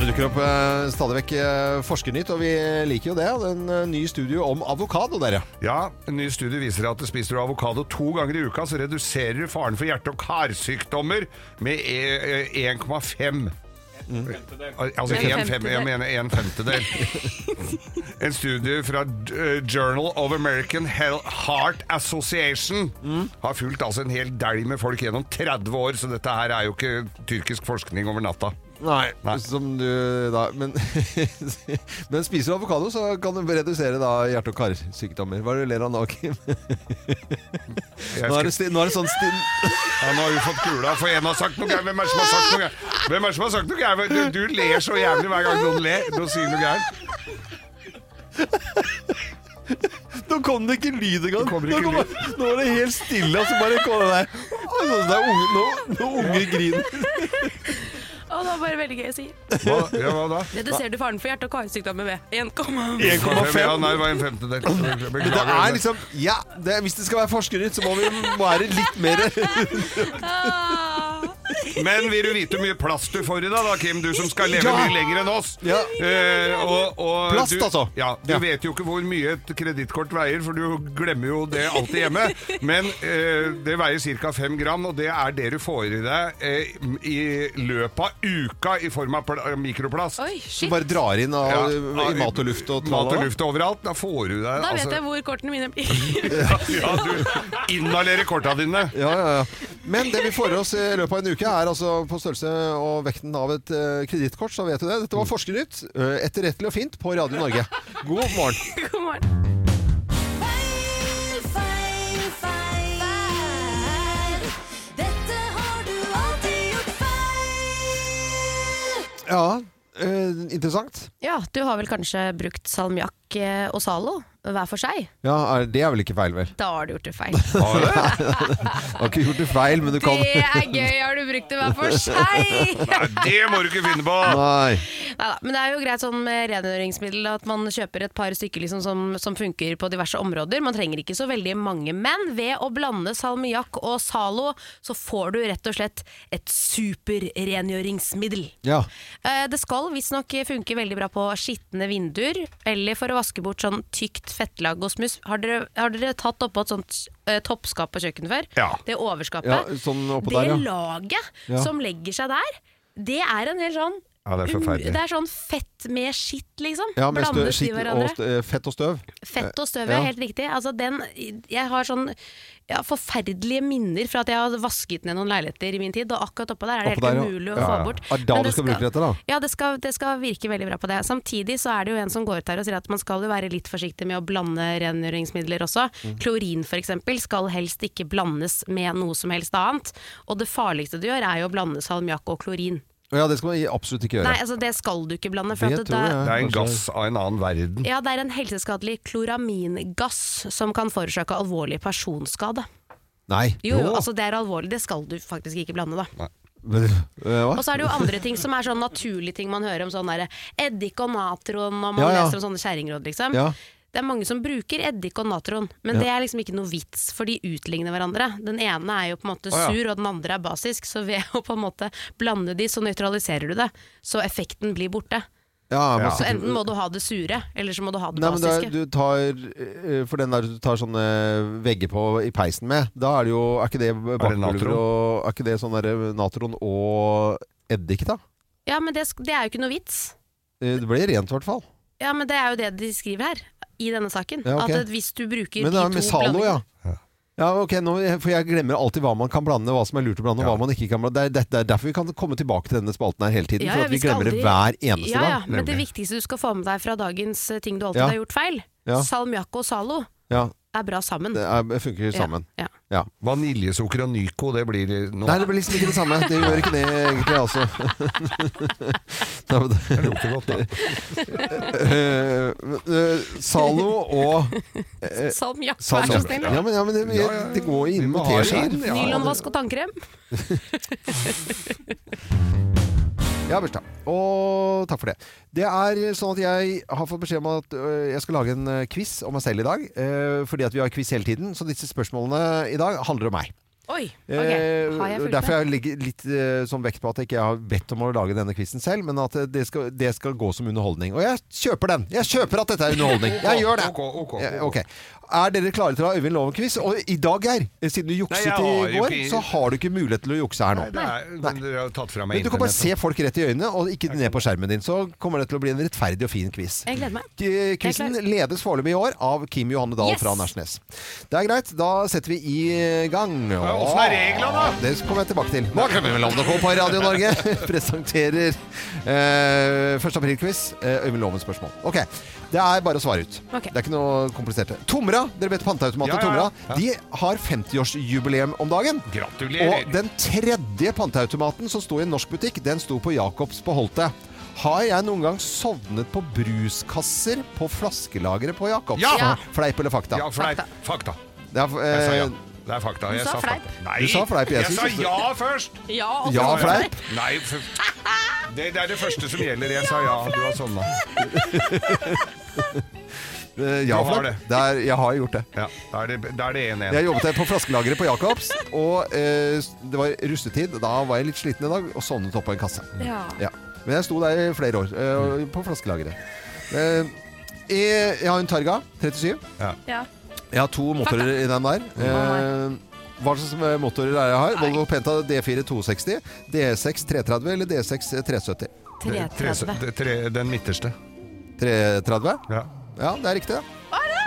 Speaker 1: Det dukker opp eh, stadig vekk eh, Forskernytt, og vi liker jo det. og det er En eh, ny studio om avokado, dere.
Speaker 2: Ja, en ny studie viser at spiser du avokado to ganger i uka, så reduserer du faren for hjerte- og karsykdommer med eh, eh, 1,5. Al- Altså
Speaker 3: En
Speaker 2: en, fem,
Speaker 3: femtedel.
Speaker 2: jeg mener en femtedel. En studie fra eh, Journal of American Hel- Heart Association har fulgt altså en hel delg med folk gjennom 30 år, så dette her er jo ikke tyrkisk forskning over natta.
Speaker 1: Nei.
Speaker 2: Nei.
Speaker 1: Som du da Men, men spiser du avokado, så kan du redusere da hjerte- og karsykdommer. Hva er det du ler av nå, Kim?
Speaker 2: Jeg
Speaker 1: Nå er
Speaker 2: skal,
Speaker 1: det, sti, nå er det sånn sti...
Speaker 2: ja, nå har du fått kula, for en har sagt noe gærent. Hvem er det som har sagt noe gærent? Hvem er det som har sagt noe gærent? Du, du ler så jævlig hver gang noen ler. Noen sier noe gærent.
Speaker 1: Nå kom det ikke lyd engang!
Speaker 2: Det kommer
Speaker 1: Nå
Speaker 2: ikke
Speaker 1: kom- Nå var det helt stille, og så bare kom det der Sånn som det er unge, nå, nå unge griner.
Speaker 3: Å, det var bare veldig gøy å si.
Speaker 2: Hva, ja, hva da?
Speaker 3: Reduserer du faren for hjerte- og karsykdommer med 1,5?
Speaker 1: 1,5.
Speaker 2: Ja, nei, det var en femtedel.
Speaker 1: Men
Speaker 2: Beklager.
Speaker 1: det er liksom Ja, det, hvis det skal være forskernytt, så må vi være litt mer
Speaker 3: Ah.
Speaker 2: Men vil du vite hvor mye plast du får i dag, da, Kim? Du som skal leve
Speaker 1: Ja.
Speaker 2: mye lenger enn oss.
Speaker 1: Ja.
Speaker 2: Eh, og, og
Speaker 1: Plast,
Speaker 2: du,
Speaker 1: altså.
Speaker 2: Ja, du
Speaker 1: Ja.
Speaker 2: vet jo ikke hvor mye et kredittkort veier, for du glemmer jo det alltid hjemme. Men eh, det veier ca. fem gram, og det er det du får i deg eh, i løpet av uka i form av pla mikroplast.
Speaker 3: Oi,
Speaker 1: Du
Speaker 3: shit.
Speaker 1: bare drar inn av,
Speaker 2: Ja.
Speaker 1: i mat og luft og
Speaker 2: Mat
Speaker 1: tralala.
Speaker 2: og luft overalt. Da får du deg altså,
Speaker 3: Da vet jeg hvor kortene mine blir.
Speaker 2: ja, du inhalerer korta dine.
Speaker 1: Ja, ja, ja. Men det vi får i oss i løpet av en uke, er altså på størrelse og vekten av et uh, kredittkort. Så vet du det. Dette var Forskernytt, eh, etterrettelig og fint, på Radio Norge. God morgen.
Speaker 3: God morgen.
Speaker 5: Feil, feil, feil. Dette har du alltid gjort feil.
Speaker 1: Ja, eh, interessant.
Speaker 3: Ja, du har vel kanskje brukt salmiakk eh, og Zalo hver for seg?
Speaker 1: Ja, er, Det er vel ikke feil, vel?
Speaker 3: Da har du gjort det feil.
Speaker 1: Du har ikke gjort det feil, men du kan
Speaker 3: Det er gøy, har du brukt det hver for seg?
Speaker 2: Nei, det må du ikke finne på!
Speaker 1: Nei.
Speaker 3: Neida, men det er jo greit sånn med rengjøringsmiddel at man kjøper et par stykker liksom som, som funker på diverse områder. Man trenger ikke så veldig mange, men ved å blande salmiakk og Zalo, så får du rett og slett et superrengjøringsmiddel.
Speaker 1: Ja.
Speaker 3: Eh, Det skal visstnok funke veldig bra på skitne vinduer, eller for å vaske bort sånn tykt fettlag og smuss. Har dere, har dere tatt oppå et sånt eh, toppskap på kjøkkenet før?
Speaker 2: Ja.
Speaker 3: Det overskapet.
Speaker 1: Ja, sånn oppå
Speaker 3: det
Speaker 1: der, ja.
Speaker 3: laget
Speaker 1: Ja.
Speaker 3: som legger seg der, det er en hel sånn
Speaker 2: Ja, det er forferdelig.
Speaker 3: Det er sånn fett med skitt, liksom.
Speaker 1: ja med støv,
Speaker 3: Blandes i
Speaker 1: skitt og
Speaker 3: hverandre.
Speaker 1: stø, fett og støv.
Speaker 3: Fett og støv,
Speaker 1: Ja.
Speaker 3: ja. Helt riktig. Altså, den, jeg har sånn ja, forferdelige minner fra at jeg har vasket ned noen leiligheter i min tid, og akkurat oppå der er det
Speaker 1: Oppå
Speaker 3: helt
Speaker 1: der, ja.
Speaker 3: umulig å
Speaker 1: Ja, ja.
Speaker 3: få bort.
Speaker 1: Er det da
Speaker 3: Men
Speaker 1: du skal bruke dette, da?
Speaker 3: Ja, det skal, det skal virke veldig bra på det. Samtidig så er det jo en som går ut her og sier at man skal jo være litt forsiktig med å blande rengjøringsmidler også.
Speaker 1: Mm.
Speaker 3: Klorin for eksempel skal helst ikke blandes med noe som helst annet. Og det farligste du gjør er jo å blande salmiakk og
Speaker 1: Å
Speaker 3: klorin.
Speaker 1: Ja, det skal man absolutt ikke gjøre.
Speaker 3: Nei, altså det skal du ikke blande. For
Speaker 1: Det
Speaker 3: at
Speaker 1: tror
Speaker 3: da,
Speaker 1: jeg.
Speaker 2: Det er en gass av en annen verden.
Speaker 3: Ja, det er en helseskadelig kloramingass som kan forårsake alvorlig personskade.
Speaker 1: Nei.
Speaker 3: Jo, jo, altså det er alvorlig, det skal du faktisk ikke blande, da.
Speaker 1: Men, øh,
Speaker 3: Og
Speaker 1: Hva?
Speaker 3: så er det jo andre ting som er sånn naturlige ting man hører om, sånn derre eddik og natron, og man
Speaker 1: Ja, ja.
Speaker 3: leser om sånne kjerringråd, liksom.
Speaker 1: Ja.
Speaker 3: Det er mange som bruker eddik og natron, men det er liksom ikke noe vits, for de utligner hverandre. Den ene er jo på en måte
Speaker 2: ja.
Speaker 3: sur, og den andre er basisk, så ved å på en måte blande de, så nøytraliserer du det. Så effekten blir borte.
Speaker 1: Ja, man
Speaker 3: Så
Speaker 1: sitter-
Speaker 3: enten må du ha det sure, eller så må du ha det
Speaker 1: Nei, men da,
Speaker 3: basiske.
Speaker 1: du tar eh, For den der du tar sånne vegger på i peisen med, da er det jo Er ikke det bakpulver
Speaker 2: natron?
Speaker 1: og Er ikke det sånn der natron og eddik, da?
Speaker 3: Ja, men det, sk- det er jo ikke noe vits.
Speaker 1: Eh, Det blir rent, i hvert fall.
Speaker 3: Ja, men det er jo det de skriver her, i denne saken.
Speaker 1: Ja, ok.
Speaker 3: At eh, hvis du bruker
Speaker 1: Men det
Speaker 3: de
Speaker 1: er
Speaker 3: to
Speaker 1: med Zalo, ja.
Speaker 3: blandingene-
Speaker 1: Ja, ok, nå, for Jeg glemmer alltid hva man kan blande, hva som er lurt å blande, og hva man ikke kan blande. Det er, det, det er derfor vi kan komme tilbake til denne spalten her hele tiden.
Speaker 3: Ja, ja,
Speaker 1: for at vi,
Speaker 3: vi skal
Speaker 1: glemmer det hver
Speaker 3: aldri-
Speaker 1: eneste
Speaker 3: ja, ja,
Speaker 1: gang.
Speaker 3: Men det viktigste du skal få med deg fra dagens eh, ting du alltid
Speaker 1: Ja.
Speaker 3: har gjort feil,
Speaker 1: Ja.
Speaker 3: salmiakk og Zalo
Speaker 1: Ja,
Speaker 3: er bra sammen.
Speaker 1: det er, funker sammen.
Speaker 3: Ja.
Speaker 1: Ja.
Speaker 2: Vaniljesukker og Nyco, det blir noe
Speaker 1: Nei, det blir liksom ikke det samme. Det gjør ikke det, egentlig, altså. Nei, men det-
Speaker 2: Det lukter godt, da.
Speaker 1: Eh, eh, Zalo og
Speaker 3: Ja. Salmiakk, vær så
Speaker 1: Zalo.
Speaker 3: snill.
Speaker 1: Ja, men, ja, men det, det går jo
Speaker 2: Vi
Speaker 1: inn
Speaker 2: må
Speaker 1: mot
Speaker 2: ha
Speaker 1: teskjeer.
Speaker 2: det inn, ja.
Speaker 3: Nylonvask og tannkrem.
Speaker 1: Jeg har bursdag, og takk for det. Det er sånn at jeg har fått beskjed om at øh, jeg skal lage en øh, quiz om meg selv i dag. øh, fordi at vi har quiz hele tiden, så disse spørsmålene i dag handler om meg.
Speaker 3: Oi, ok.
Speaker 1: Eh,
Speaker 3: Har jeg fulgt
Speaker 1: derfor
Speaker 3: med?
Speaker 1: jeg legger litt eh, sånn vekt på at jeg ikke har bedt om å lage denne quizen selv, men at eh, det skal, det skal gå som underholdning. Og jeg kjøper den! Jeg kjøper at dette er underholdning! Jeg gjør det!
Speaker 2: Ok, ok, ok.
Speaker 1: Ja, ok. Er dere klare til å ha Øyvind Loven-quiz? Og i dag, Geir, eh, siden du
Speaker 2: Nei,
Speaker 1: jukset
Speaker 2: jeg har
Speaker 1: i
Speaker 2: jo
Speaker 1: går,
Speaker 2: ikke-
Speaker 1: så har du ikke mulighet til å jukse her nå.
Speaker 2: Nei, det er, men dere har jo tatt fra meg
Speaker 1: Men du kan bare se
Speaker 2: internettet.
Speaker 1: folk rett i øynene, og ikke ned på skjermen din. Så kommer det til å bli en rettferdig og fin quiz.
Speaker 3: Jeg gleder meg.
Speaker 1: Eh, Quizen
Speaker 3: Jeg er
Speaker 1: ledes foreløpig i år av Kim Johanne Dahl
Speaker 3: Yes!
Speaker 1: fra Nærsnes. Det er greit, da setter vi i gang.
Speaker 2: åssen er reglene, da?
Speaker 1: Det kommer jeg tilbake til. Morgenklubben med Lovende Co. på Radio Norge presenterer eh, 1. april-quiz. eh, Øyvind Lovens spørsmål. Ok, Det er bare å svare ut.
Speaker 3: Ok.
Speaker 1: Det er ikke noe kompliserte. Tomra, dere vet panteautomater
Speaker 2: Ja, ja, ja.
Speaker 1: Tomra, de har 50-årsjubileum om dagen.
Speaker 2: Gratulerer!
Speaker 1: Og den tredje panteautomaten som sto i en norsk butikk, den sto på Jacobs på Holte. Har jeg noen gang sovnet på bruskasser på flaskelageret på Jacobs?
Speaker 2: Ja!
Speaker 3: Ja.
Speaker 1: Fleip eller fakta?
Speaker 2: Ja, fleip. Fakta.
Speaker 1: Det er, eh,
Speaker 2: Jeg sa ja. Det er fakta. Jeg
Speaker 3: sa
Speaker 2: sa
Speaker 3: fleip.
Speaker 2: fakta. Nei,
Speaker 1: Du sa fleip, jeg
Speaker 2: jeg
Speaker 1: synes
Speaker 2: sa
Speaker 1: også-
Speaker 2: ja først!
Speaker 3: Ja, altså. og
Speaker 1: Ja,
Speaker 3: så-
Speaker 1: fleip.
Speaker 2: Nei, for... Det, det er det første som gjelder. Jeg sa ja, du har sånn, sovna.
Speaker 1: Eh, ja,
Speaker 2: Du har
Speaker 1: flak.
Speaker 2: det.
Speaker 1: Det er, jeg har gjort det.
Speaker 2: Ja, da er det- da er det
Speaker 1: Jeg
Speaker 2: 1-1.
Speaker 1: jobbet her på flaskelageret på Jacobs, og eh, det var russetid. Da var jeg litt sliten en dag og sovnet oppå en kasse.
Speaker 4: Ja.
Speaker 1: Ja. Men jeg sto der i flere år,
Speaker 2: Mm.
Speaker 1: eh, på flaskelageret. Eh, jeg, jeg har en Targa 37.
Speaker 4: Ja.
Speaker 1: Jeg har to motorer i den der. Eh, hva slags motorer er det jeg har? Volvo Penta D4 260, D6 330 eller D6 370?
Speaker 2: Tre- tre- tre-
Speaker 4: 330.
Speaker 2: tre- Den midterste.
Speaker 1: 330?
Speaker 2: Ja.
Speaker 1: Ja, det er riktig, det.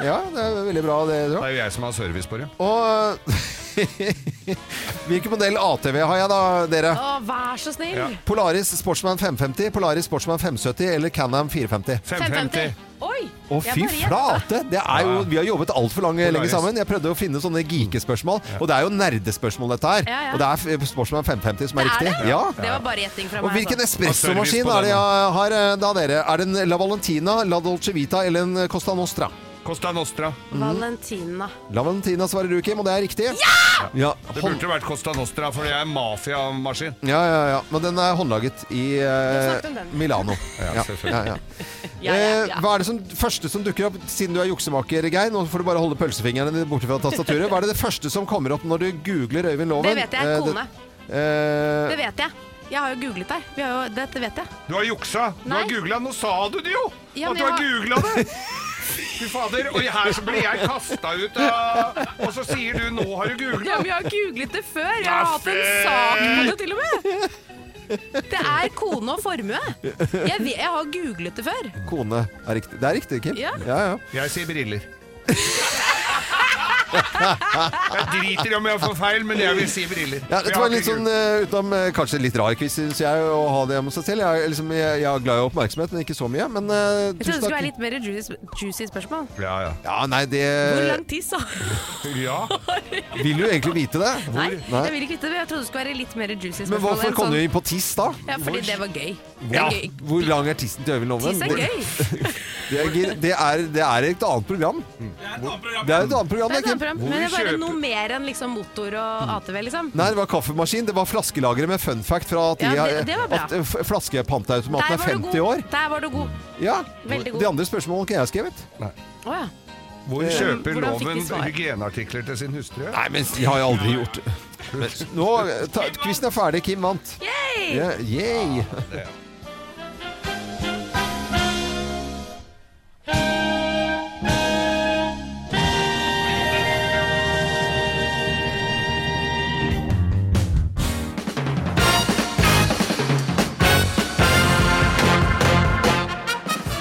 Speaker 1: Ja, det er veldig bra det,
Speaker 2: Det
Speaker 1: Trond.
Speaker 2: er jo jeg som har service på det.
Speaker 1: Og hvilken modell ATV har jeg da, dere?
Speaker 3: Å, vær så snill!
Speaker 2: Ja.
Speaker 1: Polaris Sportsman 550, Polaris Sportsman 570 eller Can-Am 450?
Speaker 2: 550.
Speaker 3: Oi!
Speaker 1: Å,
Speaker 3: jeg
Speaker 1: fy
Speaker 3: bare gjetter.
Speaker 1: flate! Det er jo, vi har jobbet altfor lenge
Speaker 2: Polaris.
Speaker 1: sammen. Jeg prøvde å finne sånne geekespørsmål, og det er jo nerdespørsmål, dette her.
Speaker 3: Ja, ja.
Speaker 1: Og det er f- Sportsman 550 som er
Speaker 3: Det er
Speaker 1: riktig.
Speaker 3: det?
Speaker 1: Ja.
Speaker 3: Det var bare gjetting fra
Speaker 1: Og
Speaker 3: meg.
Speaker 1: hvilken
Speaker 3: altså.
Speaker 1: espressomaskin
Speaker 2: Og service på
Speaker 1: er det
Speaker 2: den,
Speaker 1: jeg har eh, da, dere? Er det en La Valentina, La Dolce Vita eller en Costa Nostra?
Speaker 2: Costa Nostra.
Speaker 3: altså. Valentina.
Speaker 1: La Valentina svarer du, Kim, og det er riktig. Ja!
Speaker 2: Det
Speaker 1: hånd-
Speaker 2: burde vært Costa Nostra, for det er en mafiamaskin.
Speaker 1: ja, ja, ja. Men den er håndlaget i eh,
Speaker 3: snakket om den.
Speaker 1: Milano.
Speaker 2: Ja, selvfølgelig.
Speaker 1: ja.
Speaker 3: Ja, ja,
Speaker 1: Eh,
Speaker 3: ja.
Speaker 1: Hva er det som, første som dukker opp, siden du er juksemaker, Geir? Nå får du bare holde pølsefingrene dine borte fra tastaturet. Hva er det, det første som kommer opp når du googler Øyvind Loven?
Speaker 3: Det vet jeg. Kone.
Speaker 1: Eh, det, eh,
Speaker 3: Det vet jeg. Jeg har jo googlet deg. Vi har jo, dette vet jeg.
Speaker 2: Du har juksa! Du har
Speaker 3: Nei.
Speaker 2: googla! Nå sa du det jo!
Speaker 3: Ja,
Speaker 2: at
Speaker 3: men
Speaker 2: du har
Speaker 3: jeg har-
Speaker 2: googla det! Fy fader. Og her så blir jeg kasta ut av Og så sier du 'nå har du googla'.
Speaker 3: Ja, men jeg har googlet det før. Jeg har hatt en sak på det til og med. Det er kone og formue. Jeg, vet, jeg har googlet det før.
Speaker 1: Kone er riktig. Det er riktig, Kim.
Speaker 3: Ja.
Speaker 1: Ja, ja.
Speaker 2: Jeg sier briller. Jeg driter i om jeg får feil, men jeg vil si briller.
Speaker 1: Ja, dette
Speaker 2: Jeg
Speaker 1: var
Speaker 2: har
Speaker 1: en litt
Speaker 2: ikke
Speaker 1: sånn eh, utenom eh, kanskje litt rar quiz, syns jeg, å ha det om seg selv. Jeg er, liksom, jeg, jeg er glad i oppmerksomhet, men ikke så mye. Men eh,
Speaker 3: Jeg trodde det
Speaker 1: tusen
Speaker 3: skulle være
Speaker 1: takk.
Speaker 3: litt mer juicy, juicy spørsmål.
Speaker 2: gul- Ja, ja.
Speaker 1: Ja, nei, det
Speaker 3: Hvor lang tiss, da?
Speaker 2: ja.
Speaker 1: Vil du egentlig vite det?
Speaker 3: Nei,
Speaker 1: Nei.
Speaker 3: jeg vil ikke vite det. men Jeg trodde det skulle være litt mer juicy spørsmål.
Speaker 1: Men hvorfor
Speaker 3: enn
Speaker 1: kom du
Speaker 3: sånn-
Speaker 1: inn på tiss, da?
Speaker 3: Ja, fordi det var gøy. Det
Speaker 1: Ja,
Speaker 3: er gøy.
Speaker 1: Hvor lang er tissen til Øyvind Loven?
Speaker 3: Tiss er gøy.
Speaker 1: Det er, ikke- det, er, det er et annet program. Det er et annet program.
Speaker 3: Det er et
Speaker 1: Det
Speaker 3: annet
Speaker 1: Kim.
Speaker 3: program.
Speaker 2: Hvor
Speaker 3: Men det er bare
Speaker 2: kjøper-
Speaker 3: noe mer enn liksom motor og ATV, liksom.
Speaker 1: Nei, det var kaffemaskin. Det var flaskelageret med fun fact fra at, de,
Speaker 3: Ja, det- det var bra.
Speaker 1: at eh, f- flaskepantautomaten er 50 år.
Speaker 3: Der var du god.
Speaker 1: Ja.
Speaker 3: Veldig god.
Speaker 1: De andre spørsmålene kunne jeg ha skrevet.
Speaker 3: Å ja.
Speaker 2: Hvor
Speaker 1: Eh,
Speaker 3: Hvordan
Speaker 2: kjøper
Speaker 3: fikk de
Speaker 2: loven
Speaker 3: svar?
Speaker 2: hygieneartikler til sin hustru?
Speaker 1: Nei, men de har jeg aldri gjort. Men nå, ta, quizen er ferdig. Kim vant. Ja, yay!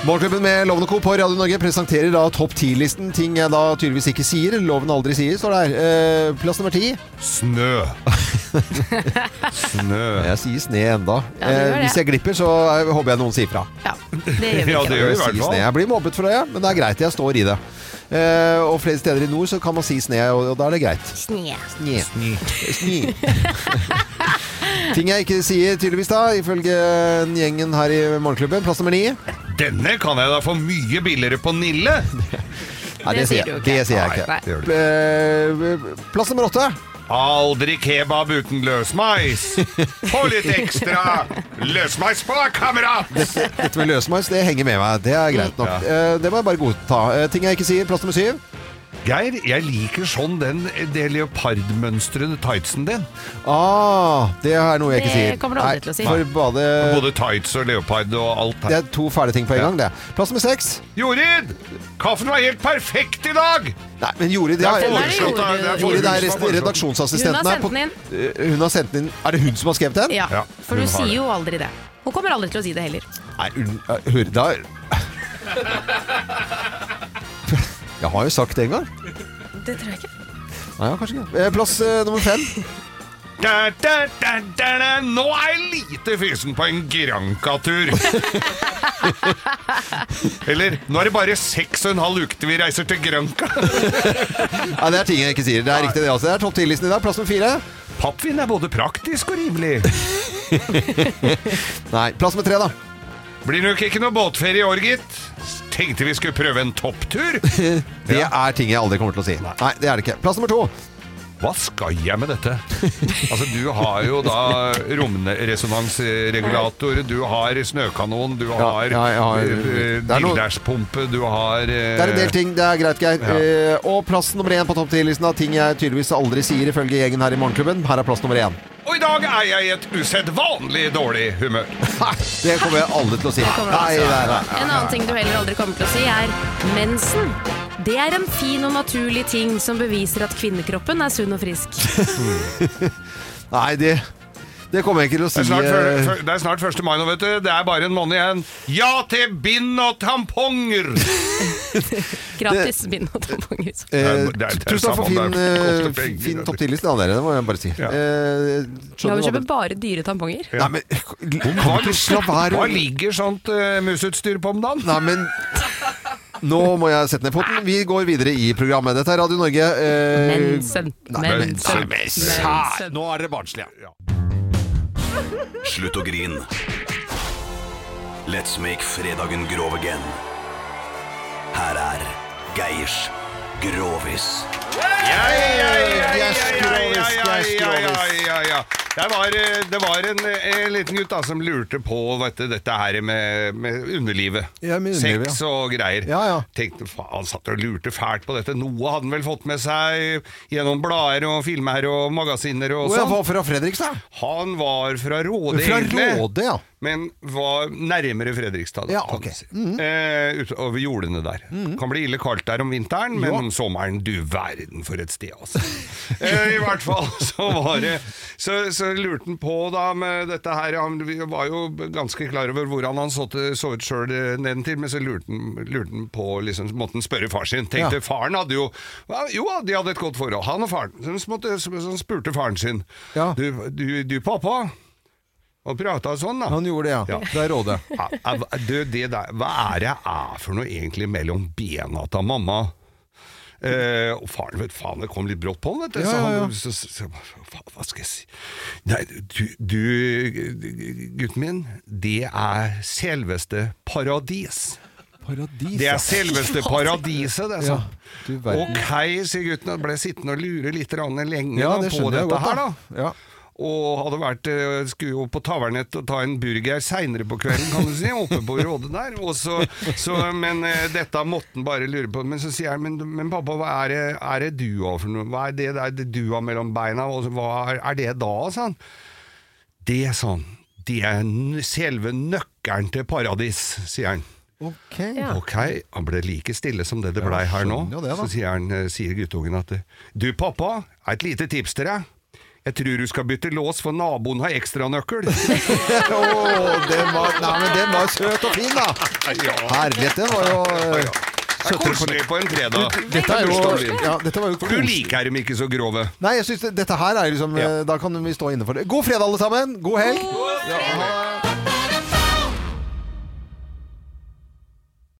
Speaker 1: Morgenklubben med Loven og Co. på Radio Norge presenterer da topp ti-listen. Ting jeg da tydeligvis ikke sier. Loven aldri sier, står det her. Eh, plass nummer ti.
Speaker 2: Snø. Snø.
Speaker 1: Jeg sier sne enda.
Speaker 3: Ja, det gjør
Speaker 1: eh,
Speaker 3: det.
Speaker 1: hvis jeg glipper, så eh, håper jeg noen sier fra.
Speaker 3: ja. Det gjør vi
Speaker 2: Ja,
Speaker 3: ikke.
Speaker 2: det gjør vi i
Speaker 1: Jeg
Speaker 2: hvert
Speaker 1: sier sne.
Speaker 2: fall.
Speaker 1: Jeg blir mobbet for det, men det er greit. Jeg står i det. Eh, og flere steder i nord så kan man si sne, og, og da er det greit. Sne. Sne. Ting jeg ikke sier, tydeligvis, da, ifølge gjengen her i Morgenklubben. Plass nummer ni. Nei,
Speaker 2: Denne kan jeg da få mye billigere på Nille!
Speaker 3: Det sier
Speaker 1: jeg-
Speaker 3: du ikke.
Speaker 1: Det sier jeg
Speaker 2: Nei,
Speaker 1: ikke.
Speaker 2: det gjør du ikke.
Speaker 1: Eh, plass nummer åtte.
Speaker 2: Aldri kebab uten løsmeis! Få litt ekstra løsmeis på, da, kamerat!
Speaker 1: Dette med løsmeis, det henger med meg. Det er greit nok.
Speaker 2: Ja.
Speaker 1: Eh, det må jeg bare godta. Eh, ting jeg ikke sier. Plass nummer syv.
Speaker 2: Geir, jeg liker sånn den det leopardmønstrede tightsen din.
Speaker 1: Ah, det er noe jeg ikke sier.
Speaker 3: Det kommer du aldri til å si.
Speaker 1: Nei, for bade...
Speaker 2: Både tights og leopard og alt
Speaker 1: Det
Speaker 2: her.
Speaker 1: er to fæle ting på en
Speaker 2: Ja.
Speaker 1: gang, det. Plass nummer seks.
Speaker 2: Jorid! Kaffen var helt perfekt i dag!
Speaker 1: Nei, men Jorid det
Speaker 2: Det
Speaker 1: er,
Speaker 2: er
Speaker 1: Jorid,
Speaker 3: foreslått.
Speaker 2: foreslått av- det er
Speaker 1: det er
Speaker 2: foreslått
Speaker 1: rest-
Speaker 2: av-
Speaker 1: redaksjonsassistenten
Speaker 3: Hun har
Speaker 1: her på-
Speaker 3: sendt
Speaker 1: Eh, Hun har sendt den inn. Er det hun som har skrevet den?
Speaker 3: Ja,
Speaker 2: Ja,
Speaker 3: for
Speaker 2: hun
Speaker 3: hun
Speaker 2: har
Speaker 3: sier
Speaker 2: det.
Speaker 3: jo aldri det. Hun kommer aldri til å si det heller.
Speaker 1: Nei, un, eh, hør, da Jeg har jo sagt det en gang.
Speaker 3: Det tror jeg ikke.
Speaker 1: Nei, ja, kanskje ikke. Eh, Plass eh, nummer fem.
Speaker 2: Da, da, da, da, da. Nå er jeg lite fysen på en Granca-tur. Eller nå er det bare seks og en halv uke til vi reiser til Granca.
Speaker 1: Nei, det er ting jeg ikke sier. Det er riktig, det altså. Det er topp 10-listen i dag. Plass nummer fire.
Speaker 2: Pappvin er både praktisk og rimelig.
Speaker 1: Nei, plass nummer tre, da.
Speaker 2: Blir nok ikke noe båtferie i år, gitt. Tenkte vi skulle prøve en topptur.
Speaker 1: Det er ting jeg aldri kommer til å si. Nei, det er det ikke. Plass nummer to.
Speaker 2: Hva skal jeg med dette? Altså, du har jo da romresonansregulator, du har snøkanon, du har
Speaker 1: ja, jeg har-
Speaker 2: eh,
Speaker 1: Det er noe-
Speaker 2: dildæsjpumpe, du har
Speaker 1: Det er en del ting. Det er greit, Geir. Eh, og plass nummer én på topp 10-listen av ting jeg tydeligvis aldri sier, ifølge gjengen her i Morgenklubben. Her er plass nummer én.
Speaker 2: Og i dag er jeg i et usedvanlig dårlig humør.
Speaker 1: Nei, det kommer jeg aldri til å si. Nei, nei, nei.
Speaker 3: En annen ting du heller aldri kommer til å si, er mensen. Det er en fin og naturlig ting som beviser at kvinnekroppen er sunn og frisk.
Speaker 1: nei det, det kommer jeg ikke til å
Speaker 2: Det
Speaker 1: si.
Speaker 2: er, snart,
Speaker 1: eh,
Speaker 2: før- før- det er snart 1. mai nå, vet du. Det er bare en måned igjen. Ja til bind og tamponger!
Speaker 3: Gratis bind og tamponger.
Speaker 1: Eh,
Speaker 2: Det er- det er- det er
Speaker 1: tusen takk for
Speaker 2: samme, det er-
Speaker 1: fin, eh,
Speaker 2: koster penger,
Speaker 1: fin
Speaker 2: det.
Speaker 1: topp 10-liste av dere, det må jeg bare si. Eh,
Speaker 2: Ja.
Speaker 3: Ja,
Speaker 1: skjønner
Speaker 3: vi
Speaker 1: du hva
Speaker 3: kjøper
Speaker 1: det-
Speaker 3: bare dyre tamponger.
Speaker 1: Nei, men
Speaker 2: Hva,
Speaker 1: Kom ikke og slapp her.
Speaker 2: hva ligger sånt eh, musutstyr på om dagen?
Speaker 1: Nei, men Nå må jeg sette ned foten. Vi går videre i programmet. Dette er Radio Norge. eh,
Speaker 3: Mensen.
Speaker 1: Nei, men-
Speaker 2: mensen.
Speaker 1: Nei, men sær- Nå er dere barnslige.
Speaker 7: Slutt å grin. Let's make fredagen grov again. Her er Geirs Grovis.
Speaker 2: ja, ja. Det var, eh, det var en, eh, liten gutt da, som lurte på vet du, dette her med, med underlivet.
Speaker 1: Ja, med underlivet,
Speaker 2: Sex
Speaker 1: ja.
Speaker 2: og greier.
Speaker 1: Ja, ja.
Speaker 2: Tenkte, faen, han satt og lurte fælt på dette. Noe hadde han vel fått med seg gjennom blader og filmer og magasiner og
Speaker 1: Å, jeg
Speaker 2: sånn.
Speaker 1: var fra Fredrikstad.
Speaker 2: Han var fra Råde,
Speaker 1: Fra
Speaker 2: egentlig.
Speaker 1: Råde, ja.
Speaker 2: Men var nærmere Fredrikstad. da,
Speaker 1: Ja,
Speaker 2: kan
Speaker 1: ok.
Speaker 2: du si. eh, utover jordene der.
Speaker 1: Mhm.
Speaker 2: Kan bli ille kaldt der om vinteren, men om sommeren, du verden for et sted, altså. eh, I hvert fall så var det Så, så lurte han på da med dette her Han var jo ganske klar over hvordan han så, til, så ut sjøl eh, nedentil, men så lurte han, lurte han på liksom, Måtte han spørre far sin. Tenkte
Speaker 1: Ja.
Speaker 2: faren hadde jo ja, Jo, de hadde et godt forhold, han og faren. Så, så, måtte, så, så spurte faren sin.
Speaker 1: Ja.
Speaker 2: Du, du, du pappa? Og prata sånn, da.
Speaker 1: Han gjorde det, ja.
Speaker 2: Ja.
Speaker 1: Det er Råde.
Speaker 2: Ja, er- er- Du, det der, hva er det er for noe egentlig mellom bena til mamma? Eh, og faren vet faen, det kom litt brått på han, vet du.
Speaker 1: Ja,
Speaker 2: så
Speaker 1: ja, ja.
Speaker 2: han så, så, så, hva, hva skal jeg si Nei, du, du gutten min, det er selveste paradis.
Speaker 1: Paradis.
Speaker 2: Det
Speaker 1: ja.
Speaker 2: er selveste paradiset, det,
Speaker 1: Ja,
Speaker 2: sa han.
Speaker 1: du verden.
Speaker 2: Ok, sier gutten, og ble sittende og lure litt grann lenge
Speaker 1: Ja,
Speaker 2: da,
Speaker 1: det
Speaker 2: på
Speaker 1: skjønner jeg
Speaker 2: dette
Speaker 1: godt.
Speaker 2: her,
Speaker 1: da.
Speaker 2: da.
Speaker 1: Ja.
Speaker 2: Og hadde vært, eh, skulle jo på Tavernett og ta en burger seinere på kvelden, kan du si. Oppe på Råde der. Og så, så, men eh, dette måtte han bare lure på. Men så sier jeg, men, men pappa, hva er det, er det du har for noe? Hva er det der det du har mellom beina? Og så, hva er, er det da, sa han. Det, sa han. Det er n- selve nøkkelen til paradis, sier han.
Speaker 1: Ok.
Speaker 2: Ok, han ble like stille som det det blei her nå.
Speaker 1: skjønner jo det, da.
Speaker 2: så sier, han, eh, sier guttungen at eh, Du, pappa, et lite tips til deg. Jeg tror du skal bytte lås, for naboen har
Speaker 1: Å,
Speaker 2: ekstranøkkel.
Speaker 1: den var, nei, men den var søt og fin, da.
Speaker 2: ja,
Speaker 1: Herlighet, den var jo eh,
Speaker 2: det er koselig på en fredag.
Speaker 1: Dette er jo, ja, dette var jo
Speaker 2: For du
Speaker 1: koselig.
Speaker 2: liker dem ikke så grove.
Speaker 1: Nei, jeg synes det, dette her er liksom
Speaker 2: Ja.
Speaker 1: eh, Da kan vi stå inne for det. God fredag, alle sammen. God helg. God fredag.